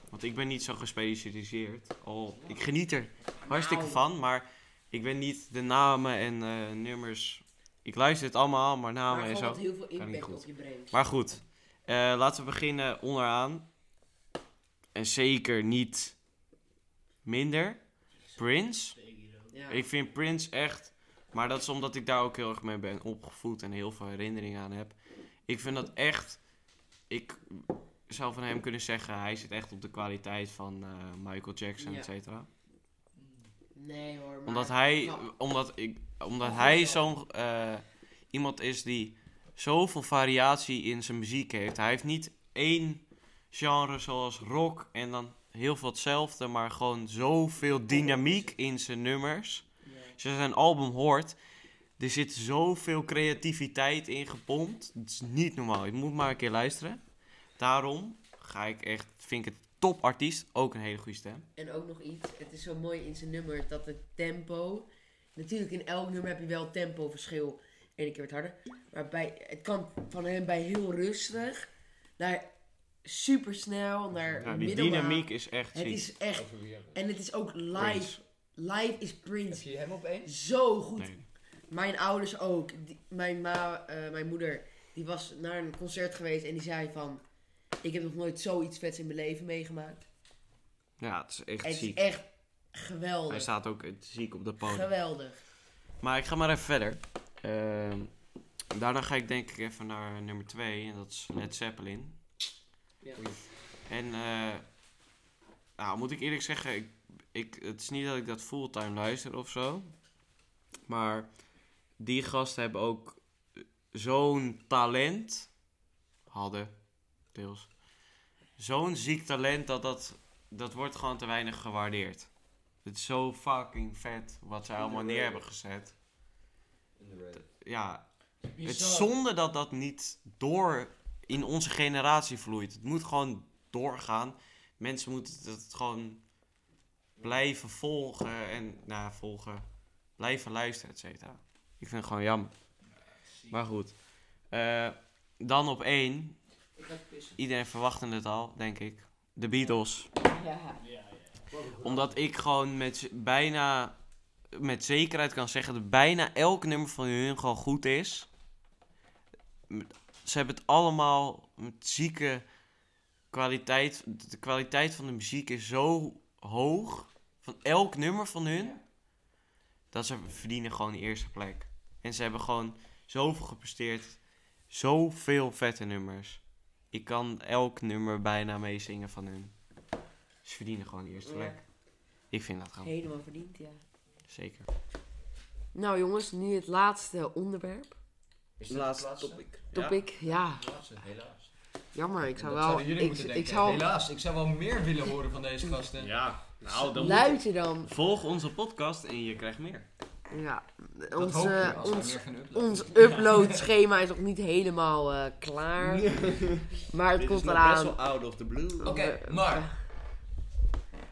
Want ik ben niet zo gespecialiseerd. Al, ik geniet er hartstikke
Nou.
van, maar ik ben niet de namen en eh, nummers. Ik luister het allemaal, maar namen
maar
en zo.
gewoon wat heel veel
niet
impact
goed.
op je brengt.
Maar goed, eh, laten we beginnen onderaan. En zeker niet minder. Prince.
Ja.
Ik vind Prince echt. Maar dat is omdat ik daar ook heel erg mee ben opgevoed en heel veel herinneringen aan heb. Ik vind dat echt. Ik zou van hem kunnen zeggen, hij zit echt op de kwaliteit van eh, Michael Jackson,
Ja.
et cetera.
Nee hoor, maar...
Omdat hij,
Nou,
omdat ik, omdat
Oh,
hij
ja.
zo'n eh, iemand is die zoveel variatie in zijn muziek heeft. Hij heeft niet één genre zoals rock en dan heel veel hetzelfde, maar gewoon zoveel dynamiek in zijn nummers. Als je zijn album hoort, er zit zoveel creativiteit in gepompt. Het is niet normaal. Je moet maar een keer luisteren. Daarom ga ik echt, vind ik het topartiest, ook een hele goede stem.
En ook nog iets, het is zo mooi in zijn nummer dat het tempo... Natuurlijk, in elk nummer heb je wel tempoverschil. Eén keer wat harder. Maar bij, het kan van hem bij heel rustig naar supersnel, naar
Nou, die
middelmaat.
dynamiek is echt
Het
ziek.
is echt... En het is ook
Prince.
live. Live is Prince.
Zie je hem opeens?
Zo goed.
Nee.
Mijn ouders ook. Die- mijn, ma, eh, mijn moeder die was naar een concert geweest en die zei van... Ik heb nog nooit zoiets vets in mijn leven meegemaakt.
Ja, het is echt
Het is
ziek.
echt
Hij
geweldig.
staat ook eh, ziek op de podium.
Geweldig.
Maar ik ga maar even verder. Ehm, daarna ga ik denk ik even naar nummer 2. En dat is Led Zeppelin.
Ja.
En eh, nou, moet ik eerlijk zeggen, ik, ik, het is niet dat ik dat fulltime luister of zo. Maar die gasten hebben ook eh, zo'n talent. Hadden, deels. Zo'n ziek talent dat, dat dat wordt gewoon te weinig gewaardeerd. Het is zo fucking vet wat zij allemaal neer hebben gezet. Ja, het is zonde dat dat niet door in onze generatie vloeit. Het moet gewoon doorgaan. Mensen moeten dat gewoon blijven volgen en nou, ja, volgen, blijven luisteren, et cetera. Ik vind het gewoon jammer. Maar goed. Eh, dan op één. Iedereen verwachtte het al, denk ik. De Beatles
Ja.
omdat ik gewoon met z- bijna met zekerheid kan zeggen dat bijna elk nummer van hun gewoon goed is. M- Ze hebben het allemaal met zieke kwaliteit. De kwaliteit van de muziek is zo hoog van elk nummer van hun dat ze verdienen gewoon de eerste plek. En ze hebben gewoon zoveel gepresteerd, zoveel vette nummers. Ik kan elk nummer bijna meezingen van hun. Ze verdienen gewoon de eerste
Ja.
plek. Ik vind dat gewoon.
Helemaal verdiend, ja.
Zeker.
Nou jongens, nu het laatste onderwerp.
Is dit het laatste?
Topic, ja.
Laatste, helaas.
Jammer, ik zou
Dat
wel...
zouden jullie
Ik,
moeten
ik
denken.
zou...
Helaas, ik zou wel meer willen horen van deze gasten.
Ja, nou dan.
Luister dan.
Volg onze podcast en je krijgt meer.
Ja,
Dat
ons,
hopen we
eh,
als we
ons,
meer gaan uploaden.
ons uploadschema is nog niet helemaal eh,
[LAUGHS]
klaar. Maar
Dit
het
is nog best
komt eraan.
wel out of the blue.
Oké,
we-
maar.
Eh,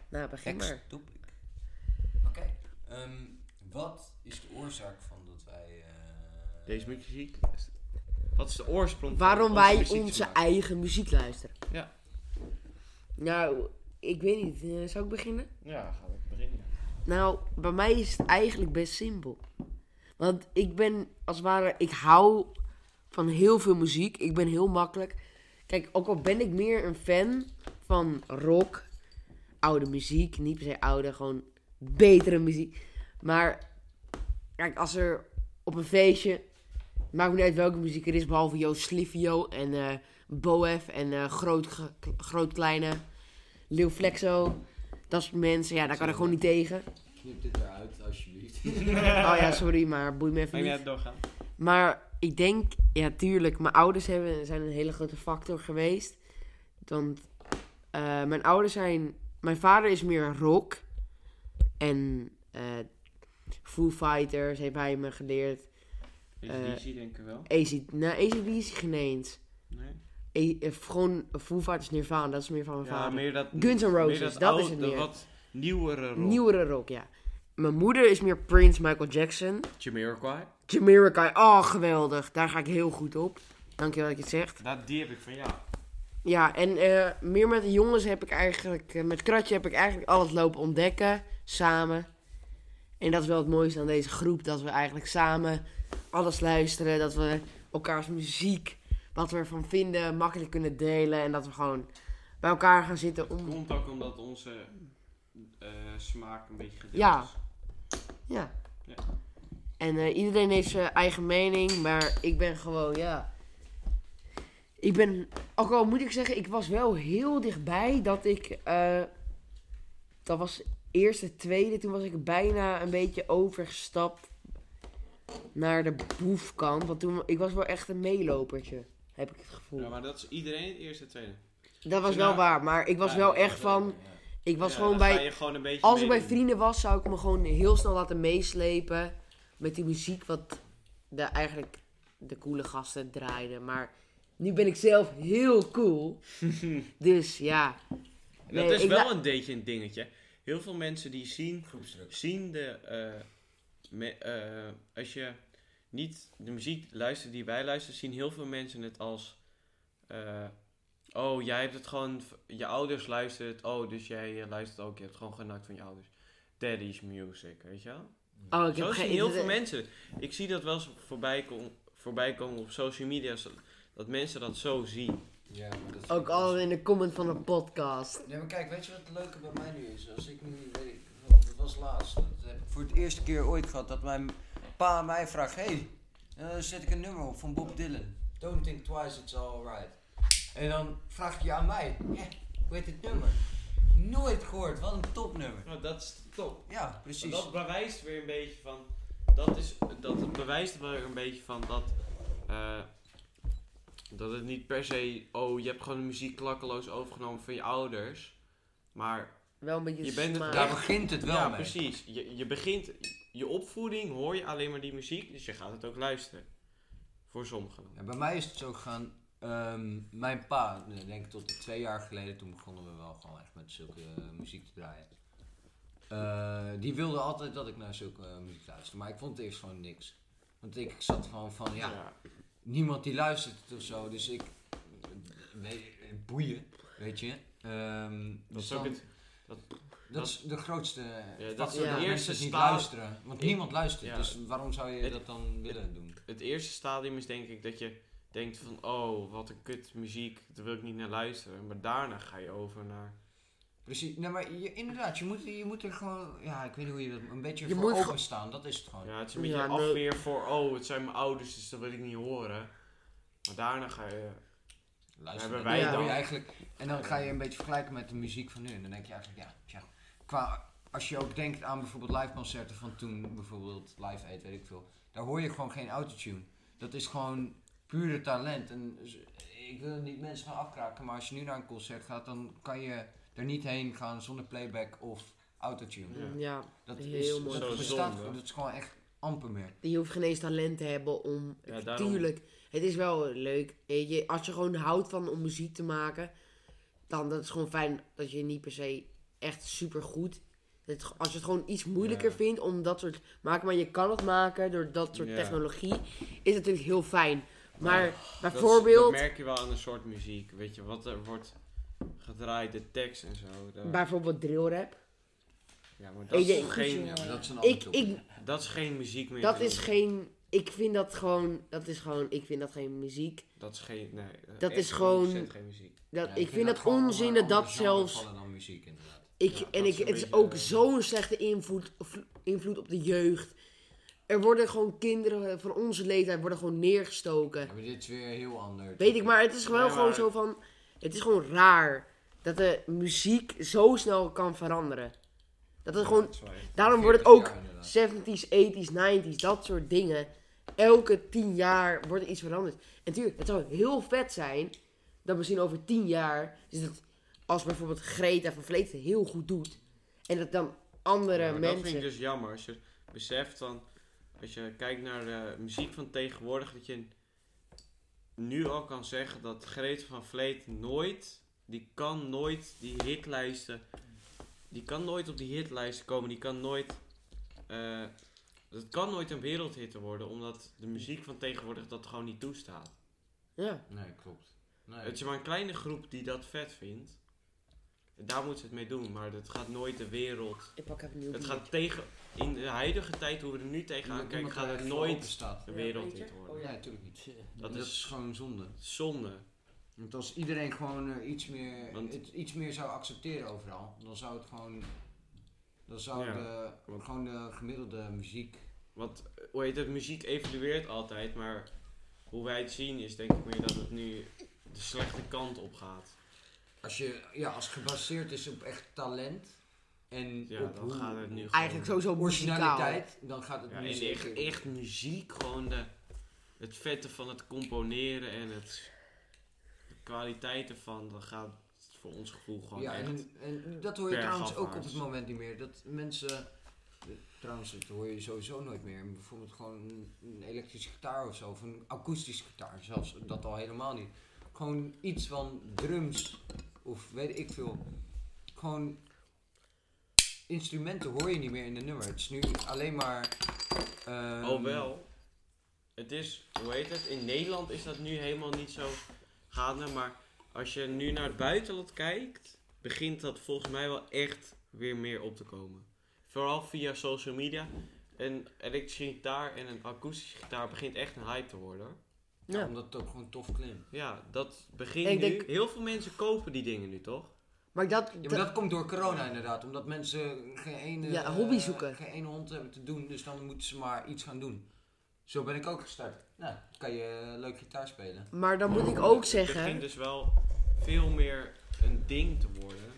Nou, begin maar.
Ex-topic. Oké. ehm, wat is de oorzaak van dat wij... eh,
Deze muziek. Wat is de oorsprong van
Waarom
onze
wij
muziek te
onze
maken?
eigen muziek luisteren.
Ja.
Nou, ik weet niet. eh, zou ik beginnen?
Ja, gaan we beginnen.
Nou, bij mij is het eigenlijk best simpel. Want ik ben, als het ware, ik hou van heel veel muziek. Ik ben heel makkelijk. Kijk, ook al ben ik meer een fan van rock, oude muziek, niet per se oude, gewoon betere muziek. Maar, kijk, als er op een feestje, maakt me niet uit welke muziek er is, behalve Joost Slivio en eh, Boef en eh, Groot, Ge- Groot Kleine, Lil Flexo, dat soort mensen. Ja, daar kan ik gewoon niet tegen.
Knip dit eruit, alsjeblieft.
Oh ja, sorry, maar boeit me even
Mag jij
niet.
het doorgaan?
Maar ik denk, ja, tuurlijk, mijn ouders hebben, zijn een hele grote factor geweest. Want eh, mijn ouders zijn. Mijn vader is meer rock. En eh Foo Fighters heeft hij me geleerd. Eh,
Deze denk ik wel.
AC, nou, ACDC geen eens.
Nee.
E- eh, gewoon Foo Fighters Nirvana, dat is meer van mijn
Ja,
vader.
meer dat.
Guns N'
meer
Roses, dat, is het
oude,
meer.
wat nieuwere rock.
Nieuwere rock, ja. Mijn moeder is meer Prince Michael Jackson.
Jamiroquai.
Jamiroquai, oh geweldig. Daar ga ik heel goed op. Dankjewel dat je het zegt.
Dat, die heb ik van jou.
Ja, en eh, meer met de jongens heb ik eigenlijk... eh, met Kratje heb ik eigenlijk alles lopen ontdekken. Samen. En dat is wel het mooiste aan deze groep. Dat we eigenlijk samen alles luisteren. Dat we elkaars muziek, wat we ervan vinden, makkelijk kunnen delen. En dat we gewoon bij elkaar gaan zitten om...
Komt ook omdat onze eh, smaak een beetje gedeeld
Ja.
is.
Ja.
Ja.
En eh, iedereen heeft zijn eigen mening, maar ik ben gewoon, ja. Ik ben, ook al moet ik zeggen, ik was wel heel dichtbij dat ik. eh, dat was eerste, tweede, toen was ik bijna een beetje overgestapt naar de boefkant. Want toen, ik was wel echt een meelopertje, heb ik het gevoel.
Ja, maar dat is iedereen het eerste en tweede.
dat was
ja.
wel waar, maar ik was
Ja,
wel
dat
echt van. Ik was
Ja,
gewoon
dan
bij
Ga je gewoon een beetje
als ik bij
meedoen.
vrienden was, zou ik me gewoon heel snel laten meeslepen met die muziek wat de, eigenlijk de coole gasten draaiden. Maar nu ben ik zelf
[LAUGHS]
heel cool. dus ja. Nee,
dat is
ik
wel
la-
een beetje een dingetje. Heel veel mensen die zien, zien de. eh, me- eh, als je niet de muziek luistert die wij luisteren, zien heel veel mensen het als. eh, oh, jij hebt het gewoon. v- Je ouders luisteren het. Oh, dus jij eh, luistert ook. Je hebt gewoon genakt van je ouders. Daddy's music, weet je wel?
Oh, ik
Zo
heb
zien
geen
heel veel
idee.
mensen. Ik zie dat wel eens voorbij, kom, voorbij komen op social media. zo- Dat mensen dat zo zien.
Ja, maar dat is
Ook al in de comment van een podcast.
Nee, maar kijk, weet je wat het leuke bij mij nu is? Als ik nu weet, ik, want dat was laatst. Dat heb ik voor het eerste keer ooit gehad dat mijn pa aan mij vraagt: hey, eh, zet ik een nummer op van Bob Dylan. Don't think twice, it's alright. En dan vraagt hij aan mij: Hé, hoe heet dit nummer? Nooit gehoord, wat een topnummer.
Nou, dat is top.
Ja,
Maar
precies.
Dat bewijst weer een beetje van. Dat, is, dat het bewijst wel weer een beetje van dat. eh, dat het niet per se. Oh, je hebt gewoon de muziek klakkeloos overgenomen van je ouders. Maar
Wel een beetje
Je bent het
smaak.
Daar begint het wel
ja,
mee.
precies. Je, je begint. Je opvoeding hoor je alleen maar die muziek. Dus je gaat het ook luisteren. Voor sommigen.
Ja, bij mij is het zo gegaan. ehm, mijn pa, ik denk tot twee jaar geleden, toen begonnen we wel gewoon echt met zulke eh, muziek te draaien. Eh, die wilde altijd dat ik naar zulke eh, muziek luisterde, maar ik vond het eerst gewoon niks. Want ik zat gewoon van, ja, niemand die luistert het of zo, dus ik, weet, eh, boeien, weet je. Ehm,
Dat
dus
is ook
dan-
het- dat-
dat is de grootste
Ja, dat
dat
is
de
de
mensen
eerste
het niet
staal-
luisteren, want
Ik-
niemand luistert,
ja.
dus waarom zou je
Het-
dat dan willen doen?
het eerste stadium is denk ik dat je denkt van oh wat een kut muziek daar wil ik niet naar luisteren maar daarna ga je over naar
Precies, nee, maar je, inderdaad, je moet, je moet er gewoon, ja, ik weet niet hoe je dat, een beetje
Je
voor
moet gewoon-
openstaan, dat is het gewoon.
ja het is een beetje
Ja, nou-
een
nee.
afweer voor oh het zijn mijn ouders dus dat wil ik niet horen maar daarna ga je
Luister,
Hebben
dat
wij
doe je
dan-
Eigenlijk, en dan ga je een beetje vergelijken met de muziek van nu, en dan denk je eigenlijk, ja, tja, qua, als je ook denkt aan bijvoorbeeld live concerten van toen, bijvoorbeeld Live Aid, weet ik veel, daar hoor je gewoon geen autotune. Dat is gewoon pure talent. En z- ik wil niet mensen gaan afkraken, maar als je nu naar een concert gaat, dan kan je er niet heen gaan zonder playback of autotune.
Ja.
Ja,
Dat
Heel
is
mooi.
Dat
Zo
bestaat,
zonde.
dat is gewoon echt amper meer.
je hoeft geen eens talent te hebben om...
Ja, daarom.
Tuurlijk, het is wel leuk. Weet je, als je gewoon houdt van om muziek te maken, dan dat is gewoon fijn dat je niet per se echt super goed... Het, als je het gewoon iets moeilijker
Ja.
vindt om dat soort maken, maar je kan het maken door dat soort
Ja. Oh,
technologie, is natuurlijk heel fijn. Maar
Dat is-
bijvoorbeeld,
Dat merk je wel aan een soort muziek. Weet je, wat er wordt gedraaid, de tekst en zo. daar-
bijvoorbeeld drillrap.
ja, maar dat, is
Hey,
toch geen,
Ja, maar dat is een
Ik,
ander
ik,
dat is geen muziek meer.
Dat
te noemen.
is geen. Ik vind dat gewoon. Dat is gewoon. Ik vind dat geen muziek.
Dat is geen... Nee, eh,
Dat
echt
is gewoon-
100% geen muziek.
Dat, ik, vind dat onzin dat dat zelfs.
Dan muziek, inderdaad.
Ik,
dat
en
is
ik,
een
het is
beetje,
ook
eh,
zo'n slechte invloed, vlo- invloed op de jeugd. Er worden gewoon kinderen van onze leeftijd worden gewoon neergestoken.
Ja, maar dit is weer heel anders.
Weet ik, maar het is wel
Nee,
gewoon
maar-
zo van. Het is gewoon raar dat de muziek zo snel kan veranderen. Dat het gewoon. Daarom wordt het
40
ook
jaar inderdaad.
70s, 80s, 90s, dat soort dingen. Elke 10 jaar wordt er iets veranderd. En tuurlijk, het zou heel vet zijn dat misschien over 10 jaar. Is het, als bijvoorbeeld Greta van Vleet het heel goed doet. En dat dan andere
Ja, maar
mensen.
Dat vind ik dus jammer. Als je beseft dan, als je kijkt naar de muziek van tegenwoordig, dat je nu al kan zeggen dat Greta van Vleet nooit, die kan nooit die hitlijsten, die kan nooit op die hitlijsten komen, die kan nooit, eh, het kan nooit een wereldhitter worden, omdat de muziek van tegenwoordig dat gewoon niet toestaat. dus-
Ja,
Nee, klopt. Nee.
Het is maar een kleine groep die dat vet vindt. Daar moet ze het mee doen, maar dat gaat nooit de wereld
ik pak even een nieuw
het
biertje.
gaat tegen, in de huidige tijd, hoe we er nu tegenaan
Iemand-
kijken,
iemand
gaat
die
het
er voor open
nooit
staat.
de wereld in worden.
Nee, natuurlijk niet.
Dat
dat
is-
is gewoon zonde.
Zonde.
Want als iedereen gewoon eh, iets, meer,
Want-
het, iets meer zou accepteren overal, dan zou het gewoon. Dan zou
Ja,
de,
want-
gewoon de gemiddelde muziek.
Want, eh, hoe heet het, muziek evolueert altijd, maar hoe wij het zien is denk ik meer dat het nu de slechte kant op gaat.
Als, je, ja, als gebaseerd is op echt talent en
Ja,
op
dan
hoe-
gaat het nu gewoon...
Eigenlijk sowieso muzikaal.
originaliteit, dan gaat het
Ja,
nu
en echt,
zeker-
echt muziek, gewoon de, het vette van het componeren en het, de kwaliteit ervan, dan gaat het voor ons gevoel gewoon
Ja,
echt...
en, en dat hoor je
bergafwaarts.
trouwens ook op het moment niet meer. Dat mensen. Trouwens, dat hoor je sowieso nooit meer. Maar Bijvoorbeeld gewoon een- een elektrische gitaar of zo. Of een akoestische gitaar. Zelfs dat al helemaal niet. Gewoon iets van drums. Of weet ik veel. Gewoon. Instrumenten hoor je niet meer in de nummer. Het is nu alleen maar. ehm,
Oh wel. Het is, hoe heet het? In Nederland is dat nu helemaal niet zo gaande. Maar als je nu naar het buitenland kijkt, begint dat volgens mij wel echt weer meer op te komen. Vooral via social media. Een elektrische gitaar en een akoestische gitaar begint echt een hype te worden. hoor.
ja,
Ja.
Omdat het ook gewoon tof klinkt.
Ja, dat begint nu.
Ik denk-
Heel veel mensen kopen die dingen nu toch?
Maar dat,
Ja, maar
dat-
dat komt door corona inderdaad. Omdat mensen geen ene,
Ja,
eh,
hobby zoeken.
geen ene hond hebben te doen. Dus dan moeten ze maar iets gaan doen. Zo ben ik ook gestart. Nou, dan kan je eh, leuk gitaar spelen.
maar dan
Oh,
moet ik ook
Het
zeggen.
begint dus wel veel meer een ding te worden.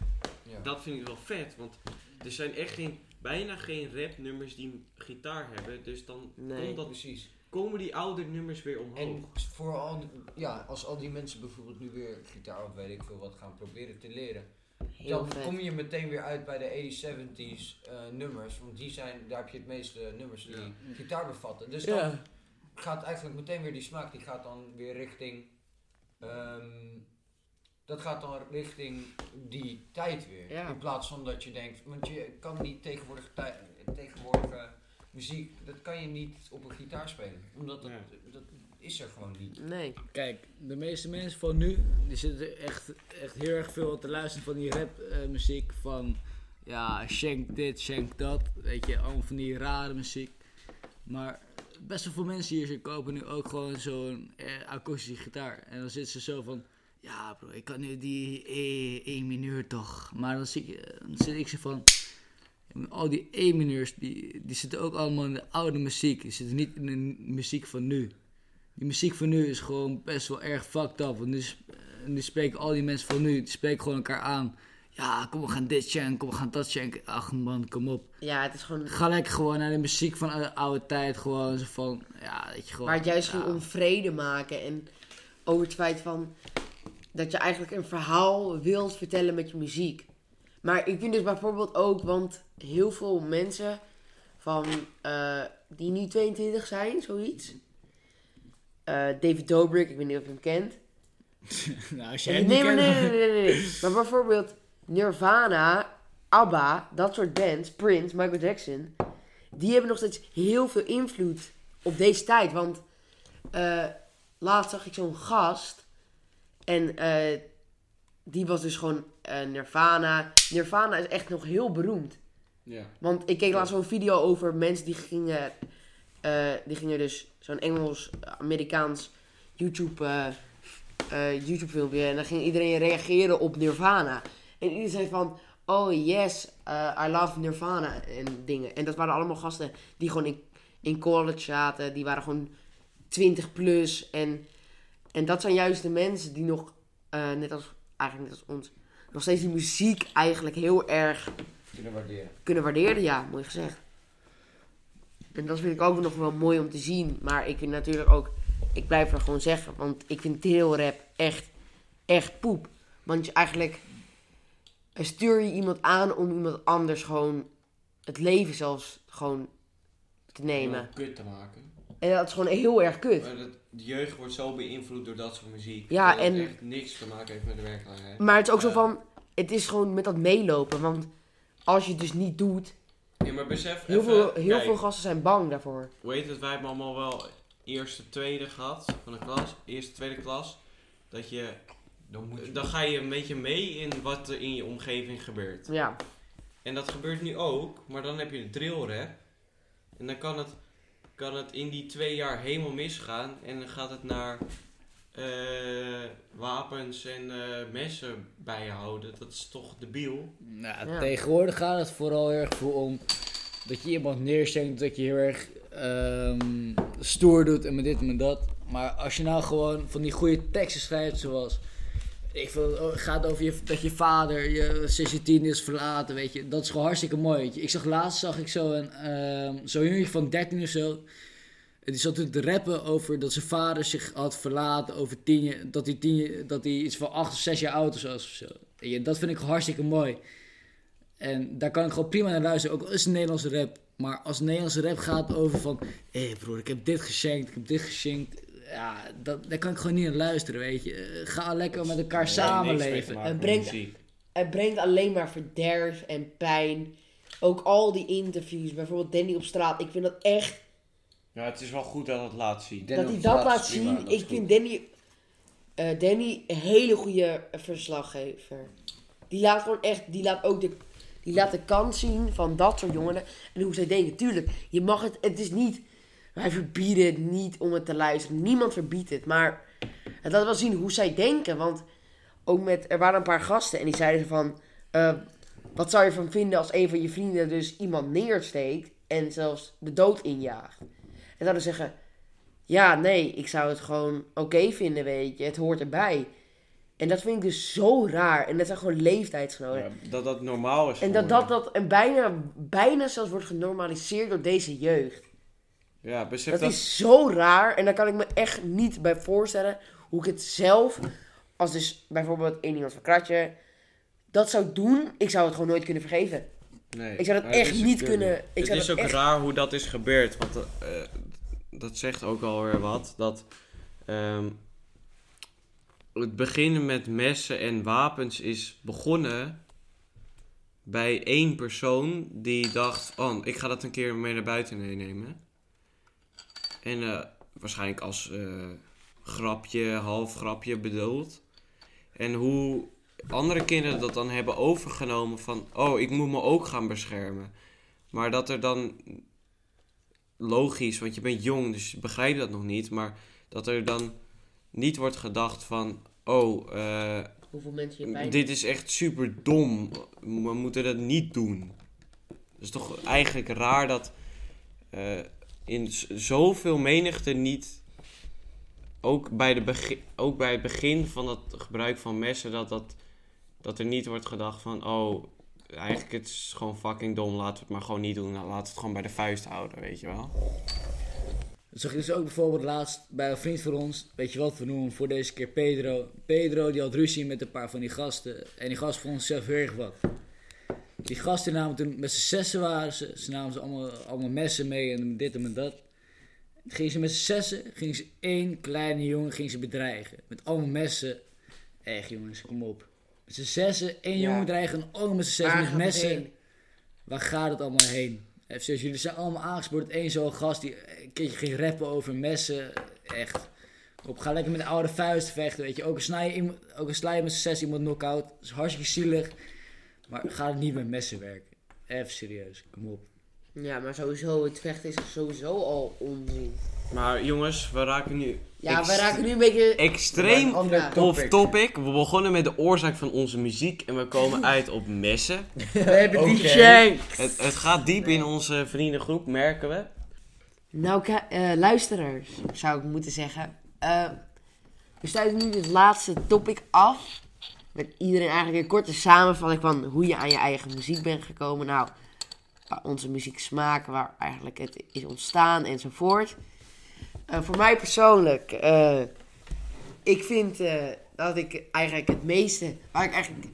Ja.
Dat vind ik wel vet, want er zijn echt geen, bijna geen rapnummers die een gitaar hebben. Dus dan
Nee.
komt dat,
Precies.
komen die oude nummers weer omhoog.
En voor al, die- ja, als al die mensen bijvoorbeeld nu weer gitaar of weet ik veel wat gaan proberen te leren.
Heel
Dan
vet.
kom je meteen weer uit bij de 70s eh, nummers. Want die zijn, daar heb je het meeste nummers die gitaar bevatten. Dus dan gaat eigenlijk meteen weer die smaak, die gaat dan weer richting. ehm, dat gaat dan richting die tijd weer.
Ja.
In plaats van dat je denkt, want je kan die tegenwoordige, tij- tegenwoordige muziek, dat kan je niet op een gitaar spelen. Omdat dat, dat is er gewoon niet.
Nee.
Kijk, de meeste mensen van nu, die zitten echt, echt heel erg veel te luisteren van die rapmuziek muziek van, ja, schenk dit, schenk dat, weet je, allemaal van die rare muziek. Maar best wel veel mensen hier ze kopen nu ook gewoon zo'n eh, akoestische gitaar. En dan zitten ze zo van, ja bro, ik kan nu die E, E mineur toch. Maar dan, zie ik, eh, dan zit ik ze van, al die E mineurs, die, die zitten ook allemaal in de oude muziek. Die zitten niet in de muziek van nu. Die muziek van nu is gewoon best wel erg fucked up. Want nu, sp- eh, nu spreken al die mensen van nu, die spreken gewoon elkaar aan. Ja, kom we gaan dit schenken, kom we gaan dat schenken. Ach man, kom op.
Ja, het is gewoon...
Ga lekker gewoon naar de muziek van oude, oude tijd. Gewoon zo van, ja, weet je gewoon.
Waar het juist ging
ja.
om vrede maken en over het feit van dat je eigenlijk een verhaal wilt vertellen met je muziek. Maar ik vind dus bijvoorbeeld ook, want heel veel mensen van eh, die nu 22 zijn, zoiets. Eh, David Dobrik, ik weet niet of je hem kent.
[LAUGHS] Nou, als jij
Nee,
het
nee,
niet
maar
kent-
nee,
[LAUGHS]
nee, nee, nee, nee. Maar bijvoorbeeld Nirvana, ABBA, dat soort bands, Prince, Michael Jackson, die hebben nog steeds heel veel invloed op deze tijd. Want eh, laatst zag ik zo'n gast en eh, die was dus gewoon eh, Nirvana. Nirvana is echt nog heel beroemd.
Ja.
Want ik keek laatst zo'n video over mensen die gingen, eh, die gingen dus zo'n Engels-Amerikaans YouTube, eh, eh, YouTube filmpje. En dan ging iedereen reageren op Nirvana. En iedereen zei van, oh yes, eh, I love Nirvana en dingen. En dat waren allemaal gasten die gewoon in, in college zaten. Die waren gewoon 20 plus. En, en dat zijn juist de mensen die nog, eh, net als, eigenlijk net als ons, nog steeds die muziek eigenlijk heel erg
Kunnen waarderen.
kunnen waarderen, ja, mooi gezegd. En dat vind ik ook nog wel mooi om te zien. Maar ik vind natuurlijk ook, ik blijf er gewoon zeggen, want ik vind trailrap echt, echt poep. Want je eigenlijk eh, stuur je iemand aan om iemand anders gewoon het leven zelfs gewoon te nemen.
Kut te maken.
En dat is gewoon heel erg kut.
Maar dat, de jeugd wordt zo beïnvloed door dat soort muziek.
Ja,
dat het
en- Mm.
echt niks te maken heeft met de werkelijkheid.
Maar het is ook zo van, het is gewoon met dat meelopen. Want als je het dus niet doet,
Ja, maar besef
heel,
even,
veel, heel
kijk,
veel gasten zijn bang daarvoor.
Hoe heet het? Wij hebben allemaal wel eerste, tweede gehad van de klas. Eerste, tweede klas. Dat je,
Dan moet je...
dan ga je een beetje mee in wat er in je omgeving gebeurt.
Ja,
En dat gebeurt nu ook, maar dan heb je de drillrap. En dan kan het, kan het in die twee jaar helemaal misgaan. En dan gaat het naar eh, wapens en eh, messen bijhouden. Dat is toch debiel?
Nou,
Ja.
tegenwoordig gaat het vooral heel erg voor om dat je iemand neersteekt, dat je heel erg ehm, stoer doet en met dit en met dat. Maar als je nou gewoon van die goede teksten schrijft, zoals ik vind, oh, het o- gaat over je, dat je vader je sinds je tien is verlaten, weet je, dat is gewoon hartstikke mooi. Weet je. Ik zag laatst zag ik zo een ehm, zo'n jongetje van 13 of zo. En die zat toen te rappen over dat zijn vader zich had verlaten over tien jaar. Dat hij, tien, jaar- dat hij iets van acht of zes jaar oud was of zo. Weet je, dat vind ik hartstikke mooi. En daar kan ik gewoon prima naar luisteren. Ook al is het Nederlandse rap. Maar als Nederlandse rap gaat over van... Hé broer, ik heb dit geschenkt, ik heb dit geschenkt. Ja, dat, daar kan ik gewoon niet naar luisteren, weet je. Eh, Ga lekker met elkaar samenleven.
En brengt- Het brengt alleen maar verderf en pijn. Ook al die interviews, bijvoorbeeld Danny op straat. Ik vind dat echt.
Ja, het is wel goed dat het laat zien.
dat hij dat laat zien. ik vind Danny, eh, Danny een hele goede verslaggever. Die laat gewoon echt. Die laat ook de, die laat de kans zien van dat soort jongeren. En hoe zij denken. Tuurlijk, je mag het. Het is niet. Wij verbieden het niet om het te luisteren. Niemand verbiedt het. Maar het laat wel zien hoe zij denken. Want ook met, er waren een paar gasten en die zeiden van... eh, wat zou je van vinden als een van je vrienden dus iemand neersteekt... en zelfs de dood injaagt? En zouden zeggen... Ja, nee, ik zou het gewoon oké vinden, weet je. Het hoort erbij. En dat vind ik dus zo raar. En dat zijn gewoon leeftijdsgenoten.
dat dat normaal is
en dat dat, dat en bijna, bijna zelfs wordt genormaliseerd door deze jeugd.
Ja, besef
Dat is zo raar en daar kan ik me echt niet bij voorstellen hoe ik het zelf, als dus bijvoorbeeld één iemand van Kratje, dat zou doen. Ik zou het gewoon nooit kunnen vergeven.
Nee,
Ik zou dat
maar het
echt
is
niet kunnen. Ik
het
zou
is
dat
ook
echt...
raar hoe dat is gebeurd. Want eh, eh, dat zegt ook alweer wat. Dat ehm, het beginnen met messen en wapens is begonnen bij één persoon die dacht: Oh, ik ga dat een keer mee naar buiten meenemen. En eh, waarschijnlijk als eh, grapje, half grapje bedoeld. En hoe andere kinderen dat dan hebben overgenomen van... oh, ik moet me ook gaan beschermen. Maar dat er dan... logisch, want je bent jong, dus je begrijpt dat nog niet... maar dat er dan niet wordt gedacht van... oh, eh,
Hoeveel mensen je pijn
dit is echt super dom. We moeten dat niet doen. Het is toch eigenlijk raar dat eh, in z- zoveel menigte niet. Ook bij, de begi- ook bij het begin van het gebruik van messen, dat, dat, Dat er niet wordt gedacht van, oh, eigenlijk het is gewoon fucking dom, laten we het maar gewoon niet doen. Nou, Laten we het gewoon bij de vuist houden, weet je wel.
Dat zag je dus ook bijvoorbeeld laatst bij een vriend van ons. Weet je wat, we noemen hem voor deze keer Pedro. Pedro die had ruzie met een paar van die gasten. En die gasten vonden zichzelf heel erg wat. Die gasten namen toen, met z'n zessen waren ze. Ze namen ze allemaal, allemaal messen mee en dit en met dat. Gingen ze met z'n zessen, gingen ze één kleine jongen gingen ze bedreigen. Met allemaal messen. Echt jongens, kom op. Met z'n zessen, één
Ja.
jongen bedreigen en allemaal met z'n zessen
Waar
met
gaat het
messen.
heen?
Waar gaat het allemaal heen? Even serieus, jullie zijn allemaal aangespoord. Eén zo'n gast die een keertje ging rappen over messen. Echt. Op, ga lekker met de oude vuist vechten, weet je. Ook een sla je, iemand- ook een sla je met z'n zes iemand knock-out. Dat is hartstikke zielig. Maar ga het niet met messen werken. Even serieus, kom op.
Ja, maar sowieso, het vechten is sowieso al onzin.
Maar jongens, we raken nu
Ja,
Ex-
we raken nu een
[LAUGHS]
beetje...
extreem
andere
off
topic.
topic. We begonnen met de oorzaak van onze muziek en we komen uit op messen.
We hebben die
Oké.
shank.
Het, het gaat diep in onze vriendengroep, merken we.
Nou, ka- eh, luisteraars, zou ik moeten zeggen. Eh, we sluiten nu dit laatste topic af. Met iedereen eigenlijk een korte samenvatting van hoe je aan je eigen muziek bent gekomen. Nou, waar onze muziek smaak, waar eigenlijk het is ontstaan enzovoort. Eh, voor mij persoonlijk, eh, ik vind eh, dat ik eigenlijk het meeste, waar ik eigenlijk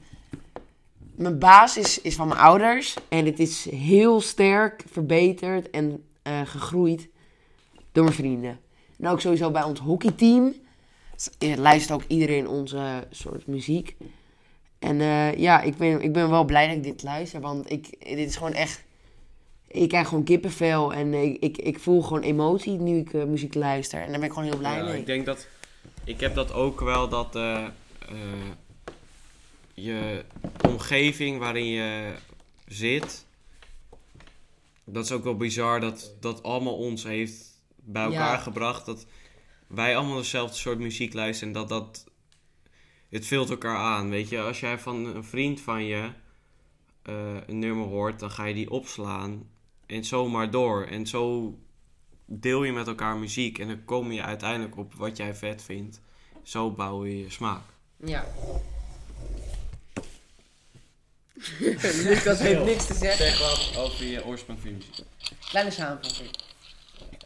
mijn basis is van mijn ouders. En het is heel sterk verbeterd en eh, gegroeid door mijn vrienden. En ook sowieso bij ons hockeyteam. S- eh, Luistert ook iedereen onze soort muziek. En eh, ja, ik ben, ik ben wel blij dat ik dit luister. Want ik, dit is gewoon echt... Ik krijg gewoon kippenvel. En ik, ik, ik voel gewoon emotie nu ik eh, muziek luister. En daar ben ik gewoon heel blij
Ja,
mee.
ik denk dat. Ik heb dat ook wel dat. eh, eh, je omgeving waarin je zit. Dat is ook wel bizar dat dat allemaal ons heeft bij
Ja.
elkaar gebracht. Dat wij allemaal dezelfde soort muziek luisteren. En dat dat. Het vult elkaar aan. Weet je, als jij van een vriend van je. eh, een nummer hoort, dan ga je die opslaan. En zo maar door. En zo deel je met elkaar muziek en dan kom je uiteindelijk op wat jij vet vindt. Zo bouw je je smaak.
[LAUGHS] Ja. Lucas heeft niks te zeggen.
wat over je oorsprong van muziek.
Kleine samenvatting.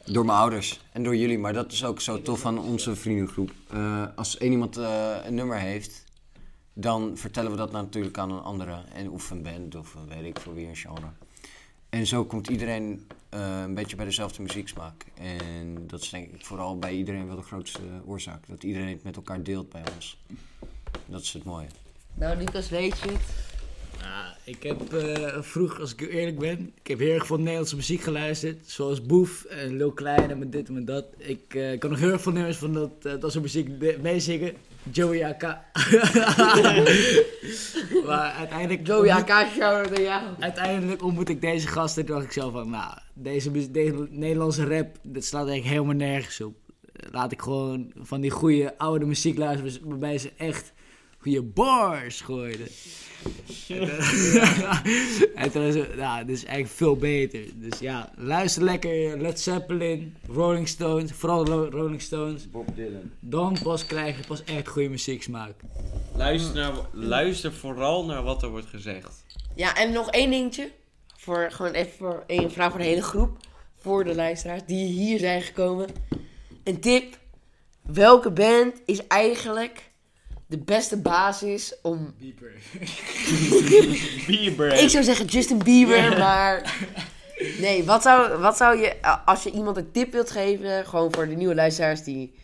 Door mijn ouders en door jullie, maar dat is ook zo tof van onze vriendengroep. Eh, als één iemand eh, een nummer heeft, dan vertellen we dat natuurlijk aan een andere. En of een band of een weet ik voor wie een genre. En zo komt iedereen eh, een beetje bij dezelfde muzieksmaak. En dat is denk ik vooral bij iedereen wel de grootste eh, oorzaak. Dat iedereen het met elkaar deelt bij ons. Dat is het mooie.
Nou, Lucas, weet je het?
Nou, ik heb eh, vroeg, als ik eerlijk ben, ik heb heel erg veel Nederlandse muziek geluisterd. Zoals Boef en Lil Kleine met dit en met dat. Ik eh, kan nog heel erg veel nummers van dat, eh, dat soort muziek de- meezingen. Joey AK. [LAUGHS] maar uiteindelijk...
Joey AK, shout naar jou.
Uiteindelijk ontmoet ik deze gasten. Toen dacht ik zo van, nou, deze, mu- deze Nederlandse rap, dat slaat eigenlijk helemaal nergens op. Eh, Laat ik gewoon van die goede oude muziek luisteren, waarbij ze echt goede bars gooiden. En, eh, [LAUGHS] en toen is het, nou, dit is eigenlijk veel beter. Dus ja, luister lekker Led Zeppelin, Rolling Stones, vooral Ro- Rolling Stones. Bob Dylan. Dan pas krijg je pas echt goede muzieksmaak.
Luister,
Hmm.
naar- luister vooral naar wat er wordt
[LAUGHS]
gezegd.
Ja, en nog één dingetje. Voor, gewoon even voor één vraag voor de hele groep. Voor de luisteraars die hier zijn gekomen. Een tip. Welke band is eigenlijk de beste basis om...
Bieber.
Ik zou zeggen Justin
[LAUGHS]
Bieber, maar... Nee, wat zou, wat zou je... a- Als je iemand een tip wilt geven, gewoon voor de nieuwe luisteraars die...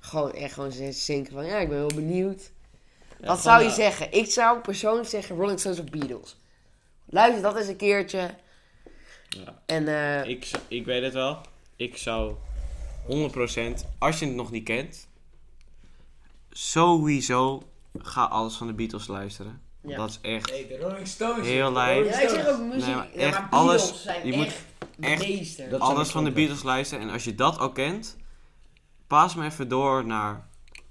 Gewoon echt gewoon z- zinken van, ja, ik ben heel benieuwd. Wat zou
eh,
je zeggen? Ik zou persoonlijk zeggen Rolling Stones of Beatles. Luister dat eens een keertje.
Ja.
En eh
Ik, z- ik weet het wel. Ik zou 100%, als je het nog niet kent, sowieso ga alles van de Beatles luisteren.
Ja.
Dat is echt
de Rolling Stones.
heel lijf.
ja, ik zeg ook muziek.
Nee, maar
Ja,
echt
maar
alles-
Beatles zijn
je
echt
moet
de
echt-
meester.
Dat zijn
alles van de
klanken.
Beatles luisteren. En als je dat al kent, eh, paas me even door naar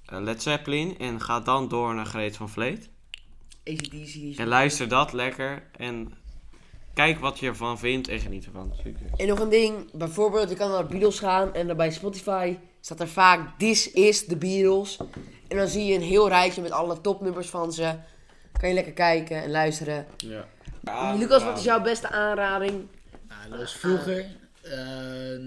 eh, Led Zeppelin. En ga dan door naar Greet van Vleet.
ACDC is-
En luister dat lekker. En kijk wat je ervan vindt en geniet ervan.
En nog een ding, bijvoorbeeld, je kan naar de Beatles gaan en dan bij Spotify staat er vaak This is the Beatles. En dan zie je een heel rijtje met alle topnummers van ze. Kan je lekker kijken en luisteren.
Ja.
Lucas, wat is jouw beste aanrading?
Nou, dat was vroeger, eh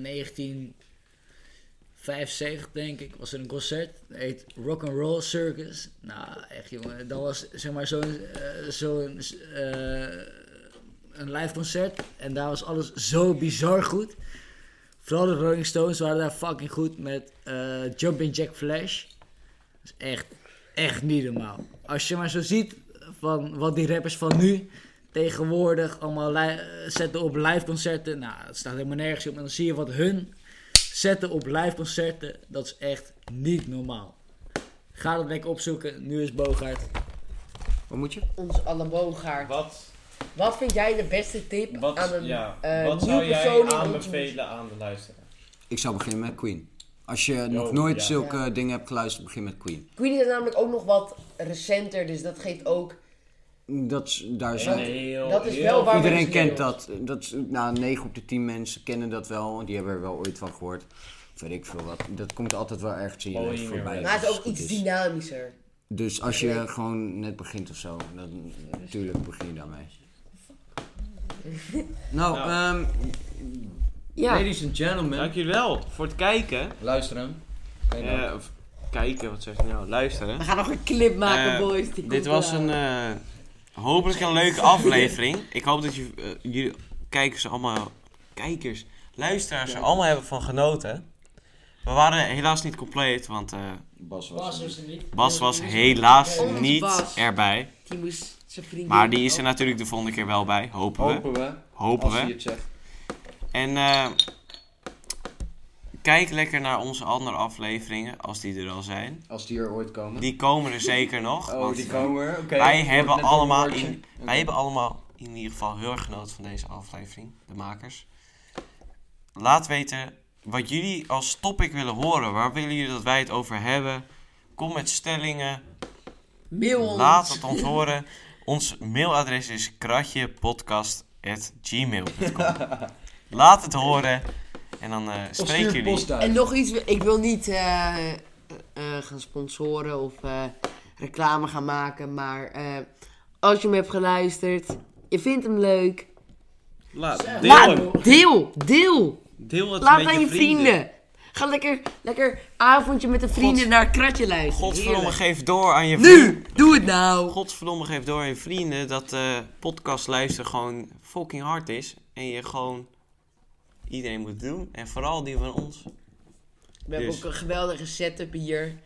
1975 denk ik, was er een concert. Het heet Rock and Roll Circus. Nou, echt jongen, dat was zeg maar zo'n eh, zo'n, eh, een live concert. En daar was alles zo bizar goed. Vooral de Rolling Stones waren daar fucking goed met eh, Jumping Jack Flash. Dat is echt, echt niet normaal. Als je maar zo ziet van wat die rappers van nu tegenwoordig allemaal li- zetten op live concerten. Nou, het staat helemaal nergens op. En dan zie je wat hun zetten op live concerten. Dat is echt niet normaal. Ga dat lekker opzoeken. Nu is Bogart.
Wat moet je?
Ons alle boomgaard.
Wat,
Wat vind jij de beste tip
wat,
aan een
ja,
eh,
wat
nieuw
zou
persoon
jij
in
aanbevelen aan de luisteraar?
Ik zou beginnen met Queen. Als je nog
Oh,
nooit
ja.
zulke dingen hebt geluisterd, begin met Queen.
Queen is namelijk ook nog wat recenter, dus dat geeft ook...
Dat is, daar is
Een
dat-
heel,
dat is
heel-
wel waar- we
Iedereen
dus
kent
mee
dat. dat is, nou, 9 op de 10 mensen kennen dat wel. Die hebben er wel ooit van gehoord. Of weet ik veel wat. Dat komt altijd wel ergens in je
Boeing
leven voorbij.
weer.
Maar het is
als
ook
goed
iets dynamischer.
Dus als je gewoon net begint of zo, dan natuurlijk begin je daarmee. Nou, ehm
Ja,
ladies and gentlemen.
Dank jullie wel voor het kijken.
Luisteren.
Eh, of kijken, wat zeg je nou? Luisteren.
we gaan nog een clip maken,
Eh,
boys. Die
Dit
komt
was
eraan.
een eh, hopelijk een leuke aflevering. Ik hoop dat je, eh, jullie kijkers er allemaal, kijkers, luisteraars er allemaal hebben van genoten. We waren helaas niet compleet, want eh,
Bas was er. dus.
Bas was helaas
Onze
niet
Bas.
erbij.
Die moest zijn vriendin...
Maar die is er natuurlijk de volgende keer wel bij, hopen we.
Hopen we.
Hopen
Als je
we.
het zegt.
En eh, kijk lekker naar onze andere afleveringen, als die er al zijn.
Als die er ooit komen.
Die komen er zeker nog.
oh,
want
die komen er. Oké.
wij,
Wordt
hebben
net een
allemaal
woordje.
in, wij hebben allemaal in ieder geval heel erg genoten van deze aflevering, de makers. Laat weten wat jullie als topic willen horen. Waar willen jullie dat wij het over hebben? Kom met stellingen.
Mail ons.
Laat het ons horen. Ons mailadres is kratjepodcast.gmail.com Laat het horen. En dan eh
Of
spreken
stuur
jullie.
post uit.
En nog iets, ik wil niet eh, eh, eh, gaan sponsoren of eh, reclame gaan maken, maar eh, als je hem hebt geluisterd, je vindt hem leuk,
Laat, deel, hem.
laat, deel, deel,
deel het
laat
met
het aan je vrienden. Ga lekker, lekker avondje met de vrienden naar het kratje luisteren.
Godverdomme,
Heerlijk.
geef door aan je
Nu, doe het nou.
Godverdomme, geef door aan je vrienden dat eh podcast luisteren gewoon fucking hard is. En je gewoon iedereen moet doen. En vooral die van ons.
We hebben
Dus.
ook een geweldige setup hier.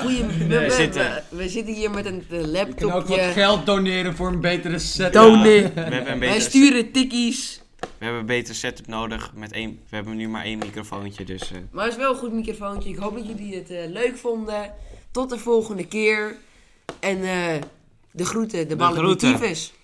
Goeie, we, we-
zitten-
we- we zitten hier met een eh,
Je kan ook wat
laptopje.
geld doneren voor een betere set.
Tony.
We hebben een
Wij
betere,
sturen tikkies.
we hebben een betere setup nodig. Met één, we hebben nu maar één microfoontje, dus... eh,
Maar het is wel een goed microfoontje. Ik hoop dat jullie het eh, leuk vonden. Tot de volgende keer. En eh, de groeten, de, de
groeten.
ballen